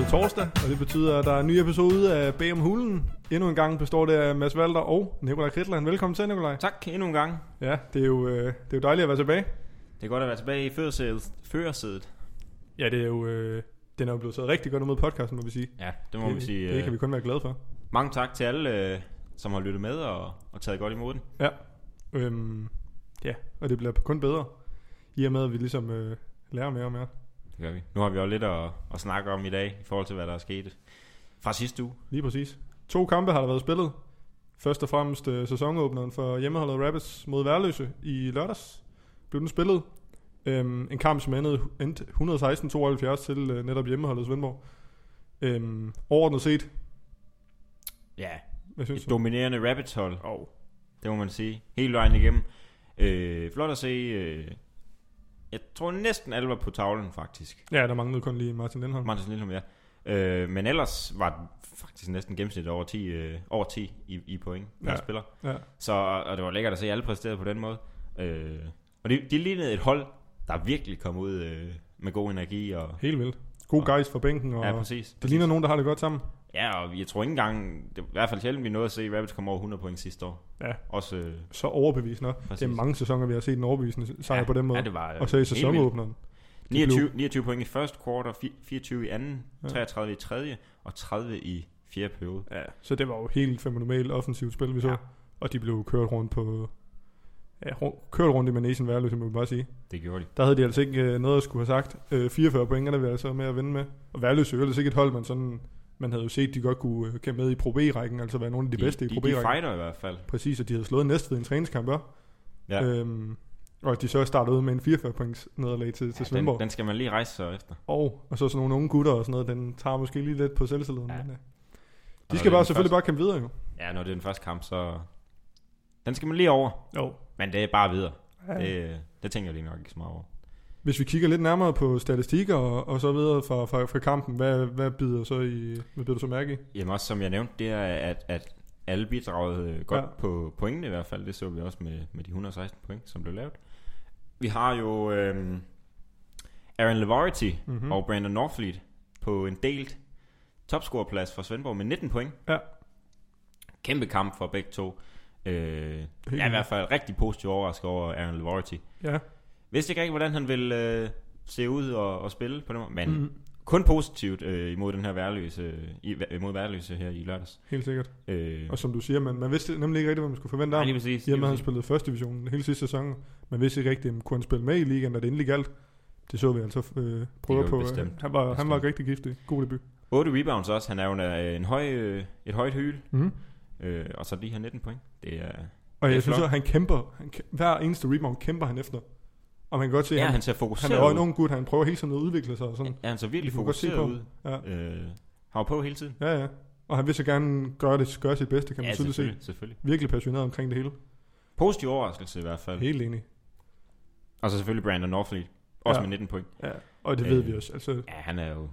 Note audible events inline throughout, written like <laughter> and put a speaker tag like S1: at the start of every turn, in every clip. S1: Og det betyder, at der er en ny episode af Bag om hulen. Endnu en gang består det af Mads Valder og Nikolaj Kritland. Velkommen til, Nikolaj.
S2: Tak endnu en gang.
S1: Ja, det er jo, øh, det er jo dejligt at være tilbage.
S2: Det er godt at være tilbage i førersædet. førersædet.
S1: Ja, det er jo... Øh, den er jo blevet taget rigtig godt med podcasten, må vi sige. øh,
S2: Ja, det må det, vi sige. øh,
S1: Det kan vi kun være glade for.
S2: Mange tak til alle, øh, som har lyttet med og, og taget godt imod den.
S1: Ja. Øhm, ja, og det bliver kun bedre, i og med at vi ligesom øh, lærer mere og mere.
S2: Det gør vi. Nu har vi jo lidt at, at snakke om i dag, i forhold til hvad der er sket fra sidste uge.
S1: Lige præcis. To kampe har der været spillet. Først og fremmest øh, sæsonåbneren for hjemmeholdet Rabbits mod Værløse i lørdags. Blev den spillet. Øhm, en kamp, som endede, endte 116-72 til øh, netop hjemmeholdet Svendborg. Øhm, overordnet set,
S2: Ja,
S1: hvad synes
S2: et
S1: du?
S2: dominerende rabbits hold
S1: Oh.
S2: det må man sige. Hele vejen igennem. Øh, flot at se. Øh, jeg tror næsten alle var på tavlen, faktisk.
S1: Ja, der manglede kun lige Martin Lindholm.
S2: Martin Lindholm, ja. Øh, men ellers var den faktisk næsten gennemsnit over 10, øh, over 10 i, i point
S1: Ja.
S2: per ja. spiller.
S1: Ja.
S2: Så, og det var lækkert at se alle præsterede på den måde. Øh, og det, det lignede et hold, der virkelig kom ud øh, med god energi. Og,
S1: Helt vildt. God
S2: Og-
S1: guys fra bænken, og
S2: ja,
S1: ja,
S2: præcis.
S1: det ligner nogen, der har det godt sammen.
S2: Ja, og jeg tror ikke engang, det, var i hvert fald sjældent vi nåede at se Rabbits komme over 100 point sidste år.
S1: Ja.
S2: Også øh,
S1: Så overbevisende.
S2: præcis.
S1: Det er mange sæsoner, vi har set en overbevisende sejr
S2: Ja,
S1: på den måde.
S2: Ja, det var, øh,
S1: og så i
S2: helt vildt.
S1: sæsonåbneren.
S2: 29, 29 point i første kvartal, 24 i anden,
S1: Ja.
S2: 33 i tredje og 30 i fjerde periode.
S1: Ja, så det var jo helt fenomenalt offensivt spil, vi så. Ja.
S2: Ja.
S1: Og de blev kørt rundt på... Ja, ru- kørt rundt i Manation Værløse, må man bare sige.
S2: Det gjorde de.
S1: Der havde de altså ikke øh, noget at skulle have sagt. Øh, 44 point er vi altså med at vinde med. Og Værløse er jo ellers ikke et hold, man sådan... Man havde jo set, de godt kunne øh, kæmpe med i Pro B-rækken, altså være nogle af de, bedste
S2: de,
S1: i Pro
S2: de, de
S1: B-rækken.
S2: fighter i hvert fald.
S1: Præcis, og de havde slået næstved i en træningskamp også.
S2: Ja.
S1: Øhm, og at de så startede ud med en 44 points nederlag til, til
S2: ja,
S1: Svendborg.
S2: den, den skal man lige rejse sig efter.
S1: Og, og så sådan nogle unge gutter og sådan noget, den tager måske lige lidt på selvtilliden. Ja.
S2: Ja.
S1: Men, øh,
S2: Og
S1: de
S2: når
S1: skal
S2: det er
S1: bare
S2: den
S1: selvfølgelig
S2: første-
S1: bare kæmpe videre jo.
S2: Ja, når det er den første kamp, så... Den skal man lige over.
S1: Jo.
S2: Men det er bare videre.
S1: Ja.
S2: Ja. Det, det tænker jeg lige nok ikke så meget over.
S1: Hvis vi kigger lidt nærmere på statistikker og, og så videre fra, fra, fra kampen, hvad, hvad bider så i, hvad bider du så mærke i?
S2: Jamen også som jeg nævnte, det er, at, at alle bidragede øh, godt
S1: Ja.
S2: ja. på pointene i hvert fald. Det så vi også med, med de 116 point, som blev lavet. Vi har jo øhm, Aaron Lavority
S1: Mm-hmm.
S2: mm. og Brandon Northfleet på en delt topscoreplads for Svendborg med 19 point.
S1: Ja.
S2: Kæmpe kamp for begge to. Øh, jeg er i hvert fald rigtig positiv overrasket over Aaron Lavority.
S1: Ja.
S2: Vidste ikke rigtig, hvordan han ville øh, se ud og, og spille på den måde. Men mm.
S1: Mm,
S2: kun positivt øh, imod den her værløse, i, imod værløse her i lørdags.
S1: helt sikkert.
S2: Øh,
S1: Og som du siger, man, man vidste nemlig ikke rigtigt, hvad man skulle forvente
S2: nej,
S1: af
S2: lige
S1: ham.
S2: præcis.
S1: I og
S2: Lige
S1: med, at han
S2: præcis.
S1: spillede første division hele sidste sæson. Man vidste ikke rigtigt, om kunne han spille med i ligaen, når det endelig galt. Det så vi altså øh, prøver
S2: vi
S1: på.
S2: bestemt.
S1: Han var, han var
S2: Bestemt.
S1: rigtig giftig. God debut.
S2: 8 rebounds også. Han er jo en, øh, en høj, øh, et højt hyl.
S1: Mm.
S2: Øh, og så lige her 19 point. Det er,
S1: Og
S2: Det er
S1: jeg synes,
S2: flot.
S1: at han kæmper. Han kæ- hver eneste rebound kæmper han efter. Og man kan godt se, at
S2: ja,
S1: han,
S2: han ser
S1: han,
S2: fokuseret
S1: er jo en
S2: ud.
S1: ung gut. Han prøver hele tiden at udvikle sig og sådan.
S2: Ja, han ser virkelig
S1: Man kan godt se
S2: fokuseret
S1: på
S2: ud.
S1: Ja.
S2: Øh, han var på hele tiden.
S1: Ja, ja. Og han vil så gerne gøre, det, gøre sit bedste, kan man
S2: ja,
S1: tydeligt se.
S2: selvfølgelig, selvfølgelig.
S1: Virkelig passioneret omkring det hele.
S2: Positiv overraskelse i hvert fald.
S1: Helt enig.
S2: Og så selvfølgelig Brandon Northfleet. Også
S1: Ja.
S2: ja. med 19 point.
S1: Ja. Og det øh. ved
S2: Øh.
S1: vi også. Altså,
S2: Ja, han er jo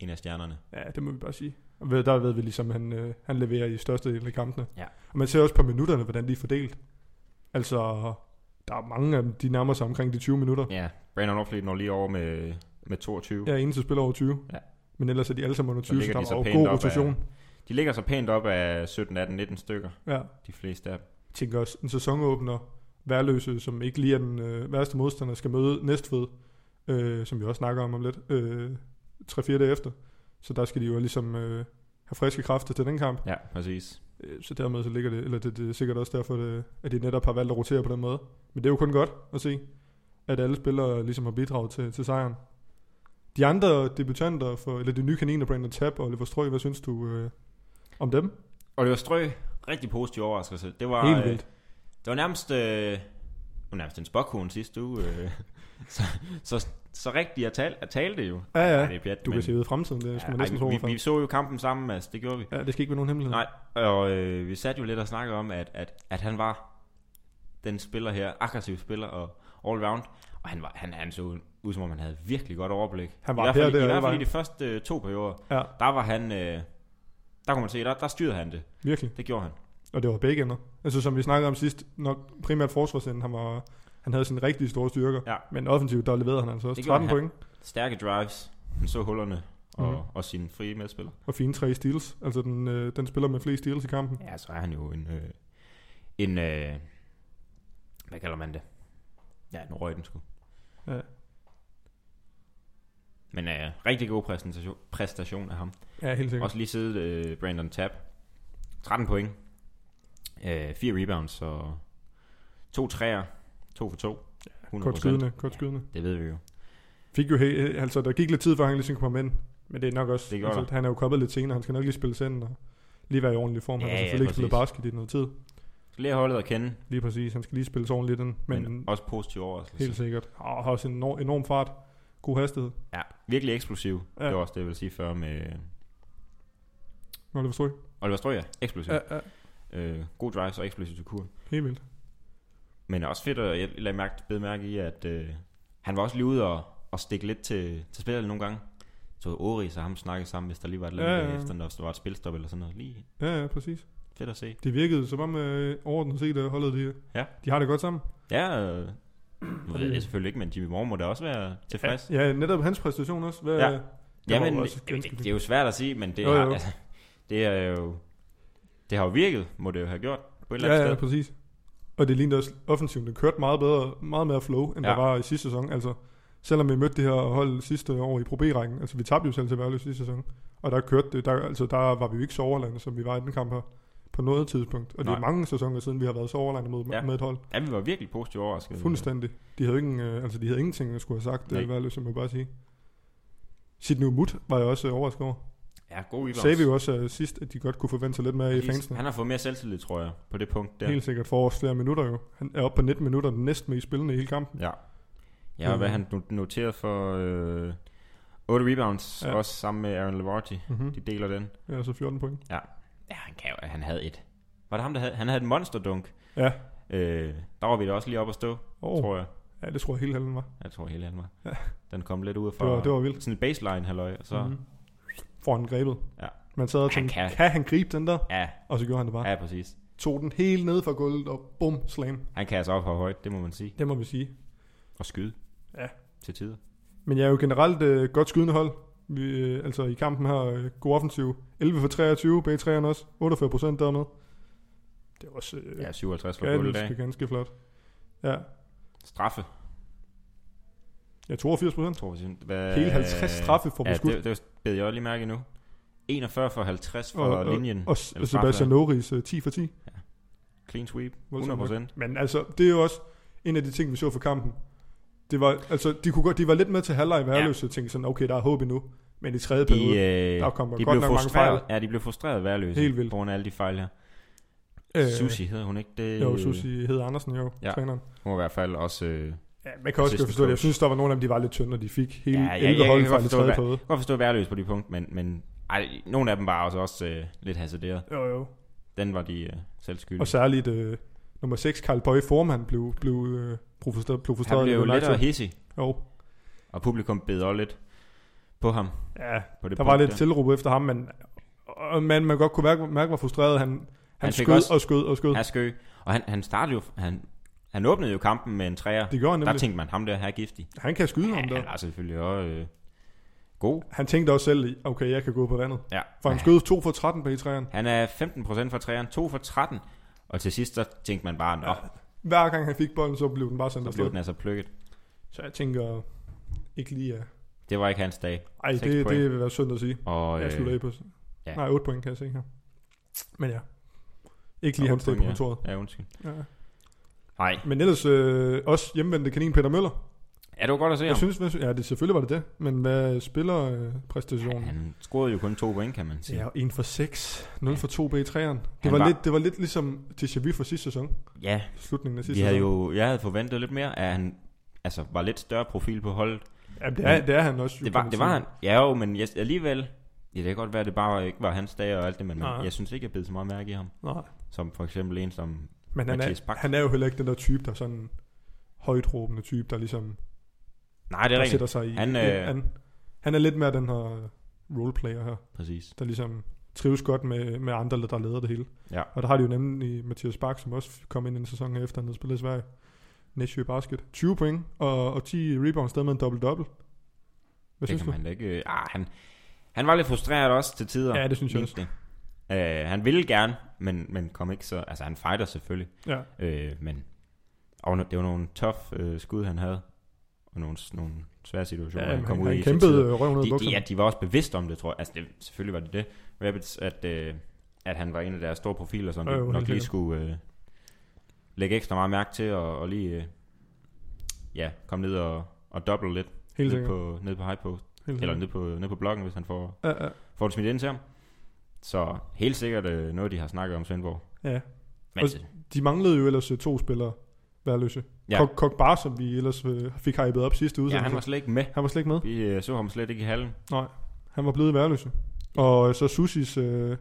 S2: en af stjernerne.
S1: ja, det må vi bare sige. Og ved- der ved vi ligesom, at han, øh, han leverer i største del af kampene.
S2: Ja.
S1: Og man ser også på minutterne, hvordan de er fordelt. Altså, der er mange af dem, de nærmer sig omkring de 20 minutter.
S2: Ja, Brandon Northfleet når lige over med, med 22.
S1: Ja, eneste spiller over 20.
S2: Ja.
S1: Men ellers er de alle sammen under
S2: Så
S1: 20, så,
S2: ligger
S1: der
S2: de så
S1: er jo
S2: pænt
S1: god
S2: op ad-
S1: rotation.
S2: De ligger så pænt op af 17, 18, 19 stykker,
S1: Ja.
S2: de fleste af dem.
S1: Jeg tænker også, en sæsonåbner, værløse, som ikke lige er den øh, værste modstander, skal møde Næstved, øh, som vi også snakker om om lidt, øh, 3-4 dage efter. Så der skal de jo ligesom øh, have friske kræfter til den kamp.
S2: Ja, præcis.
S1: Øh, Så dermed så ligger det, eller det, det er sikkert også derfor, det, at de netop har valgt at rotere på den måde. Men det er jo kun godt at se, at alle spillere ligesom har bidraget til, til sejren. De andre debutanter, for, eller de nye kaniner, Brandon Tapp og Oliver Strøg, hvad synes du øh, om dem?
S2: Og det var strø. Rigtig positiv overraskelse. Det var,
S1: Helt
S2: øh,
S1: vildt.
S2: det var nærmest, øh, det var nærmest en spokhund sidste uge. Øh, <laughs> så, så, så rigtigt at tale, at tale det jo.
S1: Ja, ja.
S2: Ej, det er pjat,
S1: Du kan se ud i fremtiden, det skal man næsten tro.
S2: vi,
S1: for.
S2: vi, så jo kampen sammen, Mads. Det gjorde vi.
S1: Ja, det skal ikke være nogen hemmelighed.
S2: Nej, og øh, vi satte jo lidt og snakkede om, at, at, at han var den spiller her, aggressiv spiller og all round. Og han, var, han, han så ud, som om han havde virkelig godt overblik.
S1: Han var
S2: I hvert
S1: der,
S2: fald,
S1: der,
S2: i,
S1: det
S2: hvert
S1: var
S2: fald i de første øh, to perioder,
S1: Ja.
S2: der var han... Øh, der kunne man se, der, der styrede han det.
S1: Virkelig.
S2: Det gjorde han.
S1: Og det var begge ender. Altså som vi snakkede om sidst, nok primært forsvarsenden, han, var, han havde sine rigtig store styrker.
S2: Ja.
S1: Men offensivt, der leverede han altså også
S2: Det gjorde
S1: 13
S2: han.
S1: point.
S2: Stærke drives. Han så hullerne. og,
S1: Mhm.
S2: mm. og sine frie medspillere.
S1: Og fine tre steals. Altså den, øh, den spiller med flest steals i kampen.
S2: Ja, så er han jo en... Øh, en øh, hvad kalder man det? Ja, en røg den sgu.
S1: Ja.
S2: Men øh, rigtig god præstation, præstation af ham.
S1: Ja, helt sikkert.
S2: Også lige siddet øh, Brandon Tapp. 13 point. Øh, 4 rebounds og to træer. To for to. 100%.
S1: Kort skydende, kort skydende.
S2: Det ved vi jo.
S1: Fik jo he- altså, der gik lidt tid, før han ligesom kom ind. Men det er nok også,
S2: Det gjorde
S1: altså, han er jo kommet lidt senere, han skal nok lige spille send og lige være i ordentlig form. Han
S2: Ja,
S1: har
S2: ja,
S1: selvfølgelig ikke spillet
S2: præcis.
S1: basket i noget tid.
S2: Skal lige have holdet at kende,
S1: Lige præcis, han skal lige spille ordentligt den, men,
S2: men, men også positiv overraskelse.
S1: helt sikkert. Og har også en enorm, enorm fart, god hastighed.
S2: Ja, virkelig eksplosiv.
S1: Ja.
S2: Ja. Det var også det, jeg ville sige før med...
S1: Nå, det forstår jeg.
S2: Oliver Strøger, eksplosiv. Ja.
S1: ja,
S2: Øh, god drives og eksplosiv til kur.
S1: helt vildt.
S2: Men også fedt at jeg lagde mærke, bed mærke i, at øh, han var også lige ude og, og stikke lidt til, til spillerne nogle gange. Så Ori og ham snakkede sammen, hvis der lige var et eller
S1: Ja,
S2: andet
S1: ja.
S2: ja. efter, når der var et spilstop eller sådan noget. Lige
S1: Ja, ja, præcis.
S2: fedt at se.
S1: Det virkede som om øh, overordnet set øh, holdet de,
S2: Ja.
S1: de har det godt sammen.
S2: Ja, øh, nu ved jeg det selvfølgelig ikke, men Jimmy Moore må da også være tilfreds. Ja,
S1: Ja, netop hans præstation også. Hvad,
S2: Ja.
S1: ja.
S2: ja
S1: var jo
S2: men det,
S1: også
S2: det,
S1: ganske
S2: det, er jo svært at sige, men det,
S1: Jo,
S2: har,
S1: jo.
S2: Altså, det er jo... Det har jo virket, må det jo have gjort på et eller andet
S1: Ja, ja,
S2: sted.
S1: præcis. Og det lignede også offensivt. Den kørte meget bedre, meget mere flow, end ja.
S2: Ja.
S1: der var i sidste sæson. Altså, selvom vi mødte det her hold sidste år i Pro B-rækken, altså vi tabte jo selv til Værløs sidste sæson, og der kørte det, der, altså der var vi jo ikke så overlandet, som vi var i den kamp her, på noget tidspunkt. Og det er
S2: Nej.
S1: mange sæsoner siden, vi har været så overlandet mod, ja.
S2: Ja.
S1: med et hold.
S2: Ja, vi var virkelig positivt
S1: Øh.
S2: overrasket.
S1: Fuldstændig. De havde, jo ingen, øh, altså, de havde ingenting, jeg skulle have sagt,
S2: Nej.
S1: det Værløs, som jeg bare sige. Sidney Umut var jeg også øh, overrasket over.
S2: Ja, god rebounds.
S1: Sagde vi jo også øh, sidst, at de godt kunne forvente sig lidt mere i
S2: Præcis.
S1: fansene.
S2: Han har fået mere selvtillid, tror jeg, på det punkt der.
S1: Helt sikkert for os flere minutter jo. Han er oppe på 19 minutter, den næsten mest spillende i hele kampen.
S2: Ja. Ja, og
S1: Mm.
S2: hvad han no- noteret for øh, 8 rebounds,
S1: Ja.
S2: ja. også sammen med Aaron Lavarty.
S1: Mm-hmm.
S2: De deler den.
S1: Ja, så 14 point.
S2: Ja, han, kan jo, han havde et. Var det ham, der havde? Han havde et monsterdunk.
S1: Ja.
S2: Øh, der var vi da også lige op at stå,
S1: Oh.
S2: tror jeg.
S1: Ja, det tror jeg hele halen var.
S2: Jeg tror hele han var.
S1: Ja.
S2: Ja. Den kom lidt ud fra
S1: Det var- det var Mhm. vildt.
S2: sådan en baseline, halløj. og Så, mm-hmm.
S1: Får han grebet.
S2: Ja.
S1: Man sad og
S2: Han
S1: tænkte, kan.
S2: kan.
S1: kan han gribe den der?
S2: ja,
S1: Og så gjorde han det bare. Ja.
S2: ja, præcis.
S1: Tog den helt ned fra gulvet og bum, slam.
S2: Han kan altså op højt, det må man sige.
S1: Det må vi sige.
S2: Og skyde.
S1: Ja.
S2: Til tider.
S1: Men jeg er jo generelt øh, godt skydende hold. Vi, øh, altså i kampen her, øh, god offensiv. 11 for 23, bag 3'eren også. 48 procent dernede. Det er også øh,
S2: Ja, 57 for gulvet i
S1: ganske,
S2: dag.
S1: ganske flot. Ja,
S2: Straffe.
S1: ja 82 procent.
S2: Tror vi simpelthen. Hvad,
S1: Hele 50 straffe for
S2: Ja,
S1: beskud.
S2: det, det bed jeg også lige mærke nu. 41 for 50 for
S1: Og-
S2: linjen.
S1: Og altså,
S2: Eller
S1: Sebastian Norris øh, 10 for 10.
S2: Clean sweep,
S1: Voldsomt
S2: 100 procent.
S1: Men altså, det er jo også en af de ting, vi så for kampen. Det var, altså, de, kunne godt, de var lidt med til halvleg værløse, og tænkte sådan, okay, der er håb endnu. Men i tredje
S2: De,
S1: periode, yeah.
S2: øh,
S1: der kom der
S2: de
S1: godt
S2: blev
S1: nok mange
S2: frustreret.
S1: fejl.
S2: Ja, de blev frustreret værløse.
S1: Helt vildt.
S2: På grund af alle de fejl her. Øh, Susi hed hun ikke det?
S1: Jo, Susi hed Andersen jo, ja.
S2: Ja.
S1: træneren.
S2: Hun var i hvert fald også... Øh,
S1: Ja, man kan også
S2: Assistant
S1: godt forstå det. Jeg
S2: coach.
S1: synes, der var nogle af dem, de var lidt tynde, og de fik hele
S2: Ja,
S1: ja, 11
S2: ja, jeg
S1: ja,
S2: kan
S1: holdfejl
S2: godt
S1: i
S2: forstå,
S1: tredje
S2: hvad-
S1: periode.
S2: godt forstå værløs på de punkt, men, men ej, nogle af dem var også, også øh, lidt hasarderet.
S1: Jo, jo.
S2: Den var de øh, selv skyldige.
S1: Og særligt øh, nummer 6, Karl Bøje Forman, blev, blev, øh, blev frustreret. Blev
S2: Han
S1: frustreret
S2: blev jo
S1: i
S2: lidt og
S1: United.
S2: hissig,
S1: Jo,
S2: og publikum bed også lidt på ham.
S1: ja,
S2: På det
S1: der var
S2: punkt
S1: lidt tilråb efter ham, men, og, men man kan godt kunne mærke, mærke var frustreret. Han, han, han
S2: Han fik
S1: skød
S2: også-
S1: og skød og skød.
S2: Han er skø. Og han, han startede jo... Han, han åbnede jo kampen med en træer.
S1: Det gjorde han
S2: Der
S1: nemlig.
S2: tænkte man, ham der her er giftig.
S1: Han kan skyde ham
S2: Ja,
S1: der.
S2: han er selvfølgelig også øh, god.
S1: Han tænkte også selv, i, okay, jeg kan gå på vandet.
S2: Ja.
S1: For han skød 2 for 13 bag træerne.
S2: Han er 15% fra træerne, 2 for 13. Og til sidst, så tænkte man bare, nå,
S1: Hver gang han fik bolden, så blev den bare sendt
S2: så blev
S1: afsted.
S2: den altså plukket.
S1: Så jeg tænker, ikke lige ja.
S2: Det var ikke hans dag.
S1: Ej,
S2: Seks
S1: det,
S2: point.
S1: det vil være synd at sige.
S2: Og
S1: Jeg slutter af
S2: øh,
S1: på... Ja.
S2: ja.
S1: Nej, 8 point kan jeg se her. Men ja. Ikke lige
S2: og
S1: hans dag på
S2: undskyld,
S1: kontoret.
S2: Ja, ja undskyld.
S1: Ja.
S2: Nej,
S1: Men ellers øh, også hjemvendte kanin Peter Møller.
S2: ja, det var godt at se
S1: Jeg
S2: ham.
S1: synes, hvad, sy- ja, det, selvfølgelig var det det. Men hvad spiller øh, præstationen?
S2: Han scorede jo kun to point, kan man sige.
S1: Ja,
S2: Ja,
S1: 1 for 6, 0
S2: Ja.
S1: for 2 bag træerne. Det
S2: Han
S1: var,
S2: var-
S1: lidt, det var lidt ligesom déjà vu fra sidste sæson.
S2: ja
S1: Slutningen af sidste
S2: vi havde
S1: sæson.
S2: jo, jeg havde forventet lidt mere, at han altså, var lidt større profil på holdet.
S1: Jamen, det er, det er han også. jo,
S2: Det
S1: kan
S2: var,
S1: man
S2: det
S1: sige.
S2: var han. Ja, jo, men jeg, alligevel... Ja, det kan godt være, at det bare ikke var hans dag og alt det, men
S1: Nej.
S2: men jeg synes ikke, jeg bed så meget mærke i ham.
S1: Nej.
S2: Som for eksempel en som...
S1: Men han
S2: Mathias
S1: er,
S2: Bak.
S1: han er jo heller ikke den der type, der er sådan højtråbende type, der ligesom
S2: Nej, det er
S1: der
S2: rigtigt.
S1: sætter sig i.
S2: Han,
S1: i-
S2: øh,
S1: han, han er lidt mere den her roleplayer her,
S2: Præcis.
S1: der ligesom trives godt med, med andre, der leder det hele.
S2: Ja.
S1: Og der har de jo nemlig Mathias Bak, som også kom ind en sæson efter, han havde spillet i Sverige. Næsjø Basket. 20 point og, og 10 rebounds, stadig med en dobbelt-dobbelt. Hvad
S2: det
S1: synes
S2: kan
S1: du?
S2: man da ikke... Øh, ah, han, Han var lidt frustreret også til tider.
S1: Ja, det synes jeg
S2: lignede det. Øh, han ville gerne, men, men kom ikke så... Altså, han fighter selvfølgelig.
S1: Ja.
S2: Øh, men og no- det var nogle tough øh, skud, han havde. Og nogle, nogle svære situationer,
S1: Ja,
S2: han kom
S1: han,
S2: ud i.
S1: han
S2: til
S1: kæmpede
S2: tider.
S1: øh, røven ud af
S2: de, de,
S1: bukserne.
S2: ja, de var også bevidste om det, tror jeg. Altså, det, selvfølgelig var det det. Rabbits, at, øh, at han var en af deres store profiler, som
S1: Jo, jo,
S2: de
S1: helt
S2: nok lige
S1: sikkert.
S2: skulle øh, lægge ekstra meget mærke til, og, og lige øh, ja, komme ned og, og doble lidt
S1: Helt
S2: ned
S1: sikkert.
S2: på, ned på high post,
S1: Helt
S2: eller
S1: sikkert.
S2: ned på, ned på blokken, hvis han får,
S1: Ja, ja.
S2: får det smidt ind til ham. Så helt sikkert øh, noget, de har snakket om Svendborg.
S1: ja.
S2: Men,
S1: Og- De manglede jo ellers øh, to spillere værløse.
S2: Ja.
S1: Ja. Kok, Kok Bar, som vi ellers øh, fik hypet op sidste
S2: ja,
S1: udsendelse.
S2: han var slet ikke med.
S1: han var slet ikke med.
S2: Vi øh, så ham slet ikke i hallen.
S1: Han var blevet værløse. Og øh, så Susis øh,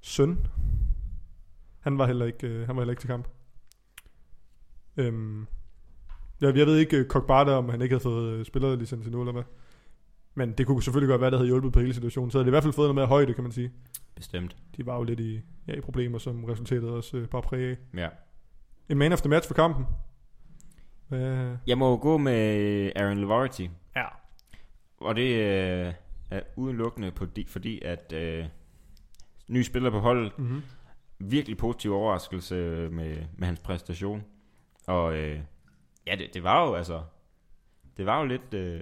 S1: søn, han var heller ikke, øh, han var heller ikke til kamp. Øhm, jeg, jeg ved ikke øh, Kok Barter, om han ikke havde fået øh, spillerlicens endnu, eller hvad. Men det kunne selvfølgelig godt være, det havde hjulpet på hele situationen. Så havde det i hvert fald fået noget mere højde, kan man sige.
S2: Bestemt.
S1: De var jo lidt i, ja, i problemer, som resulterede også øh, bare præg af.
S2: Ja.
S1: En man of the match for kampen. Hvad,
S2: Jeg må jo gå med øh, Aaron Lavority.
S1: Ja.
S2: Og det øh, er udelukkende, på de, fordi at øh, nye spiller på holdet,
S1: mm-hmm.
S2: virkelig positiv overraskelse øh, med, med hans præstation. Og øh, ja, det, det var jo altså, det var jo lidt, øh,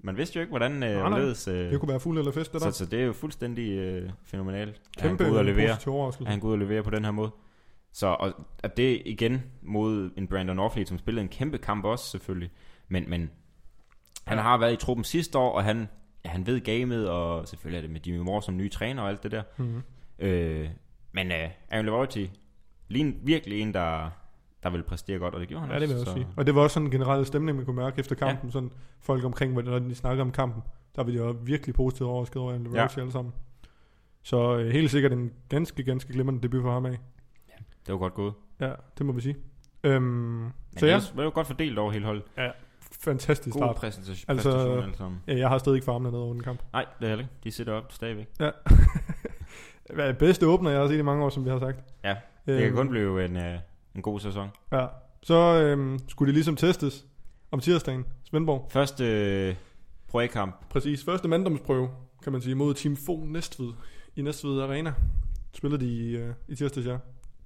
S2: man vidste jo ikke, hvordan øh,
S1: nej.
S2: hvorledes, øh,
S1: Det kunne være fuld eller fest, det der.
S2: så, så det er jo fuldstændig øh, fænomenalt, at han
S1: Kæmpe
S2: går ud og leverer
S1: positiv
S2: at
S1: overraskelse.
S2: han går ud og leverer på den her måde. Så og, at det igen mod en Brandon Offley, som spillede en kæmpe kamp også selvfølgelig. Men, men han
S1: Ja.
S2: har været i truppen sidste år, og han, ja, han ved gamet, og selvfølgelig er det med Jimmy Moore som nye træner og alt det der.
S1: Mm-hmm.
S2: Øh, men øh, Aaron Lavorty ligner virkelig en, der, der vil præstere godt, og det gjorde han
S1: Ja, det vil jeg også
S2: så-
S1: sige. Og det var også sådan en generel stemning, man kunne mærke efter kampen. Ja. Sådan folk omkring, hvordan de snakker om kampen. Der var de jo virkelig positivt overrasket over Andy
S2: Ja.
S1: ja. alle sammen. Så øh, helt sikkert en ganske, ganske glimrende debut for ham af.
S2: Det var godt gået.
S1: Ja, det må vi sige. Øhm,
S2: Men
S1: så
S2: det
S1: ja,
S2: var- var jo godt fordelt over hele holdet.
S1: fantastisk
S2: God
S1: start.
S2: præstation,
S1: Altså-
S2: altså, præstation alle sammen.
S1: Ja, jeg har stadig ikke farmene ned over den kamp.
S2: Nej, det er heller ikke. De sidder op stadigvæk.
S1: Hvad er bedste åbner, jeg har set i mange år, som vi har sagt. Øhm,
S2: Ja, Det kan kun blive en, øh, en god sæson.
S1: Ja. Så øhm, skulle det ligesom testes om tirsdagen. Svendborg.
S2: Første øh, prøvekamp
S1: Præcis. Første manddomsprøve, kan man sige, mod Team Fogh Næstved i Næstved Arena. Spillede de i, øh, i tirsdags, ja.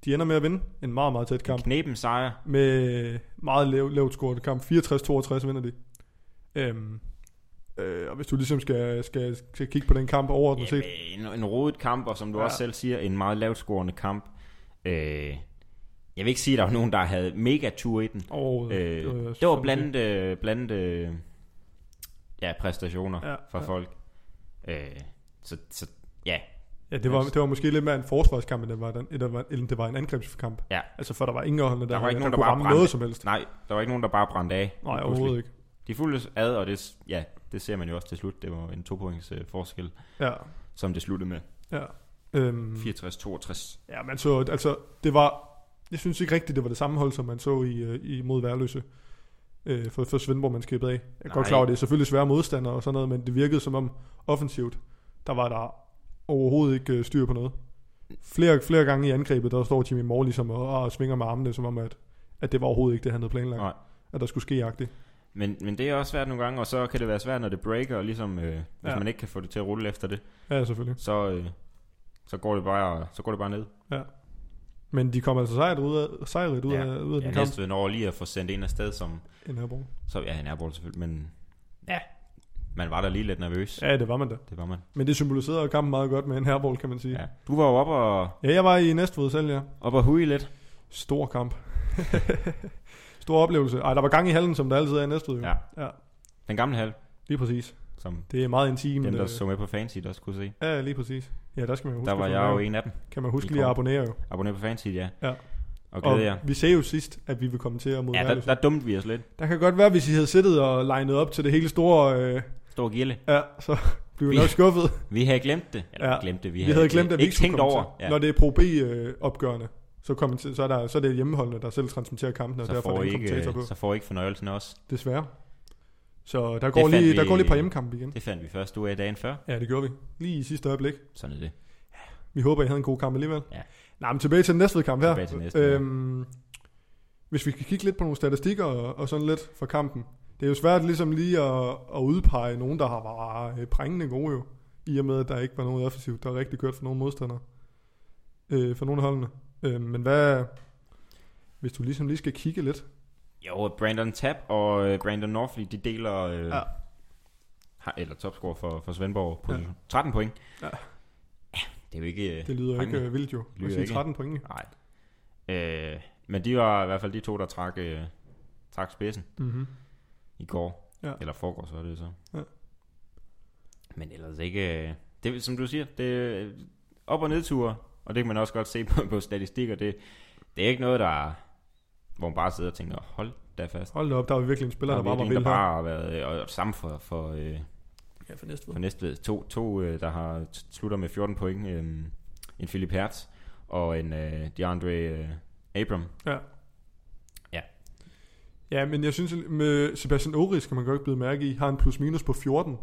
S1: De ender med at vinde en meget, meget tæt kamp.
S2: Knepen sejr.
S1: Med meget lav, lavt scoret kamp. 64-62 vinder de. Øhm, øh, og hvis du ligesom skal, skal, skal kigge på den kamp overordnet set.
S2: Jamen, en, en rodet kamp, og som du ja.
S1: Ja.
S2: også selv siger, en meget lavt scorende kamp. Øh, jeg vil ikke sige, at der var nogen, der havde mega tur i den.
S1: Overhovedet.
S2: Øh,
S1: var
S2: Det var
S1: sådan
S2: blandt, øh, blandt øh, ja, præstationer
S1: set- Ja,
S2: fra
S1: ja.
S2: folk. Øh, så, så ja,
S1: ja det, var, det var måske lidt mere en forsvarskamp, end det var, den, eller var- eller det var en angrebskamp.
S2: Ja.
S1: Altså for der var ingen afholdende, der,
S2: Der var ikke nogen, der
S1: kunne
S2: bare
S1: ramme
S2: brændte.
S1: noget som helst.
S2: nej, der var ikke nogen, der bare brændte af.
S1: Nej,
S2: pludselig.
S1: overhovedet ikke.
S2: De fulgte ad, og det, s- ja, det ser man jo også til slut. Det var en to points øh, forskel,
S1: Ja,
S2: som det sluttede med.
S1: ja. Øhm,
S2: 64-62.
S1: Ja, man så, altså, det var, jeg synes ikke rigtigt, det var det samme hold, som man så i, øh, i mod Værløse. Øh, for, for Svendborg-mandskabet af. Jeg er
S2: Nej.
S1: godt klar over, at det er selvfølgelig svære modstandere og sådan noget, men det virkede som om offensivt, der var der overhovedet ikke øh, styr på noget. Flere, flere gange i angrebet, der står Jimmy Moore ligesom og, og svinger med armene, som om at, at det var overhovedet ikke det, han havde planlagt.
S2: Nej.
S1: At der skulle ske jagtigt.
S2: Men, men det er også svært nogle gange, og så kan det være svært, når det breaker, og ligesom, øh, hvis ja.
S1: Ja.
S2: man ikke kan få det til at rulle efter det.
S1: Ja, selvfølgelig.
S2: så, øh, så, går det bare, så går det bare ned.
S1: Men de kom altså sejret ud af, sejret ud
S2: Ja.
S1: af, ud af
S2: Ja,
S1: den kamp.
S2: Næstved når lige at få sendt en afsted, som...
S1: i Nørrebro.
S2: Så, ja, en airball selvfølgelig, men... Ja. Man var der lige lidt nervøs. Ja.
S1: Ja, det var man da.
S2: Det var man.
S1: Men det symboliserede jo kampen meget godt med en herbold, kan man sige. Ja.
S2: Ja. Du var jo oppe og,
S1: ja, jeg var i Næstved selv, ja.
S2: oppe og huge lidt.
S1: Stor
S2: <laughs>
S1: kamp. Stor oplevelse. Ej, der var gang i hallen, som der altid er i Næstved. Jo.
S2: Ja.
S1: ja.
S2: Den gamle hal,
S1: Lige præcis.
S2: som
S1: Det er meget intimt.
S2: dem, der
S1: øh,
S2: så med på Fanseat også kunne se.
S1: Ja, lige præcis. Ja, der skal man jo huske.
S2: Der var
S1: at
S2: jeg jo
S1: abonnere.
S2: en af dem.
S1: Kan man huske
S2: I
S1: lige at
S2: kom.
S1: abonnere jo.
S2: Abonner på Fanseat, ja.
S1: Ja.
S2: Og glæder jer.
S1: vi sagde jo sidst, at vi ville komme til at mod
S2: Ja, der, der dumte vi os lidt.
S1: der, kan godt være, hvis I havde siddet og legnet op til det hele store... Øh,
S2: Stor gilde.
S1: ja, så <laughs> blev vi
S2: Vi-
S1: nok skuffet.
S2: Vi havde glemt det. Eller
S1: Ja.
S2: ja. glemt det. Vi,
S1: Vi havde glemt, at vi
S2: ikke
S1: skulle
S2: tænkt
S1: komme
S2: over.
S1: til.
S2: Ja.
S1: Når det er Pro B-opgørende, så, kommer til, så, er der, så er det hjemmeholdene, der selv transmitterer kampene, og
S2: Så
S1: derfor er
S2: får,
S1: der
S2: I
S1: ingen
S2: ikke,
S1: kommentator
S2: øh,
S1: på.
S2: så får I ikke fornøjelsen også.
S1: Desværre. Så der går,
S2: fandt
S1: lige, der
S2: vi-
S1: går lige et par hjemmekampe igen.
S2: Det fandt vi først ud af dagen før.
S1: Ja, det gjorde vi. Lige i sidste øjeblik.
S2: Sådan er det.
S1: Vi håber, I havde en god kamp alligevel.
S2: Ja.
S1: Nej, men tilbage til den næste kamp her.
S2: Tilbage til Næstved, ja.
S1: øhm, hvis vi skal kigge lidt på nogle statistikker og, og sådan lidt fra kampen. Det er jo svært ligesom lige at, at udpege nogen, der har været øh, prængende gode jo i og med, at der ikke var noget offensivt, der rigtig kørt for nogle modstandere, øh, for nogle af holdene. Øh, men hvad, hvis du ligesom lige skal kigge lidt,
S2: Jo, Brandon Tapp og øh, Brandon Norfleet, de deler... Øh,
S1: Ja.
S2: ja. har, eller topscore for, for Svendborg på ja. 13 point.
S1: Ja.
S2: Ja. det er jo ikke... Øh,
S1: det lyder
S2: mange.
S1: ikke øh, vildt jo,
S2: lyder
S1: at sige
S2: ikke.
S1: 13 point.
S2: Nej. Øh, men de var i hvert fald de to, der trak, øh, trak spidsen
S1: Mm-hmm.
S2: i går.
S1: Ja.
S2: Ja. Eller foregår, så er det jo så.
S1: Ja.
S2: Men ellers ikke... øh, Det, er, som du siger, det er op- og nedture, og det kan man også godt se <laughs> på, på statistikker. Det, det er ikke noget, der er, hvor man bare sidder og tænker, hold da fast.
S1: Hold da op, der var virkelig en spiller, der,
S2: der,
S1: bare
S2: er
S1: var
S2: virkelig en,
S1: vild
S2: der
S1: her.
S2: bare har været, øh, og samme for, for, øh,
S1: Ja, for næste
S2: for Næstved. To, to øh, der har t- slutter med 14 point. Øh, en Philip Hertz og en øh, DeAndre øh, Abram.
S1: Ja, men jeg synes, at med Sebastian Ori, skal man godt blive mærke i, har en plus-minus på 14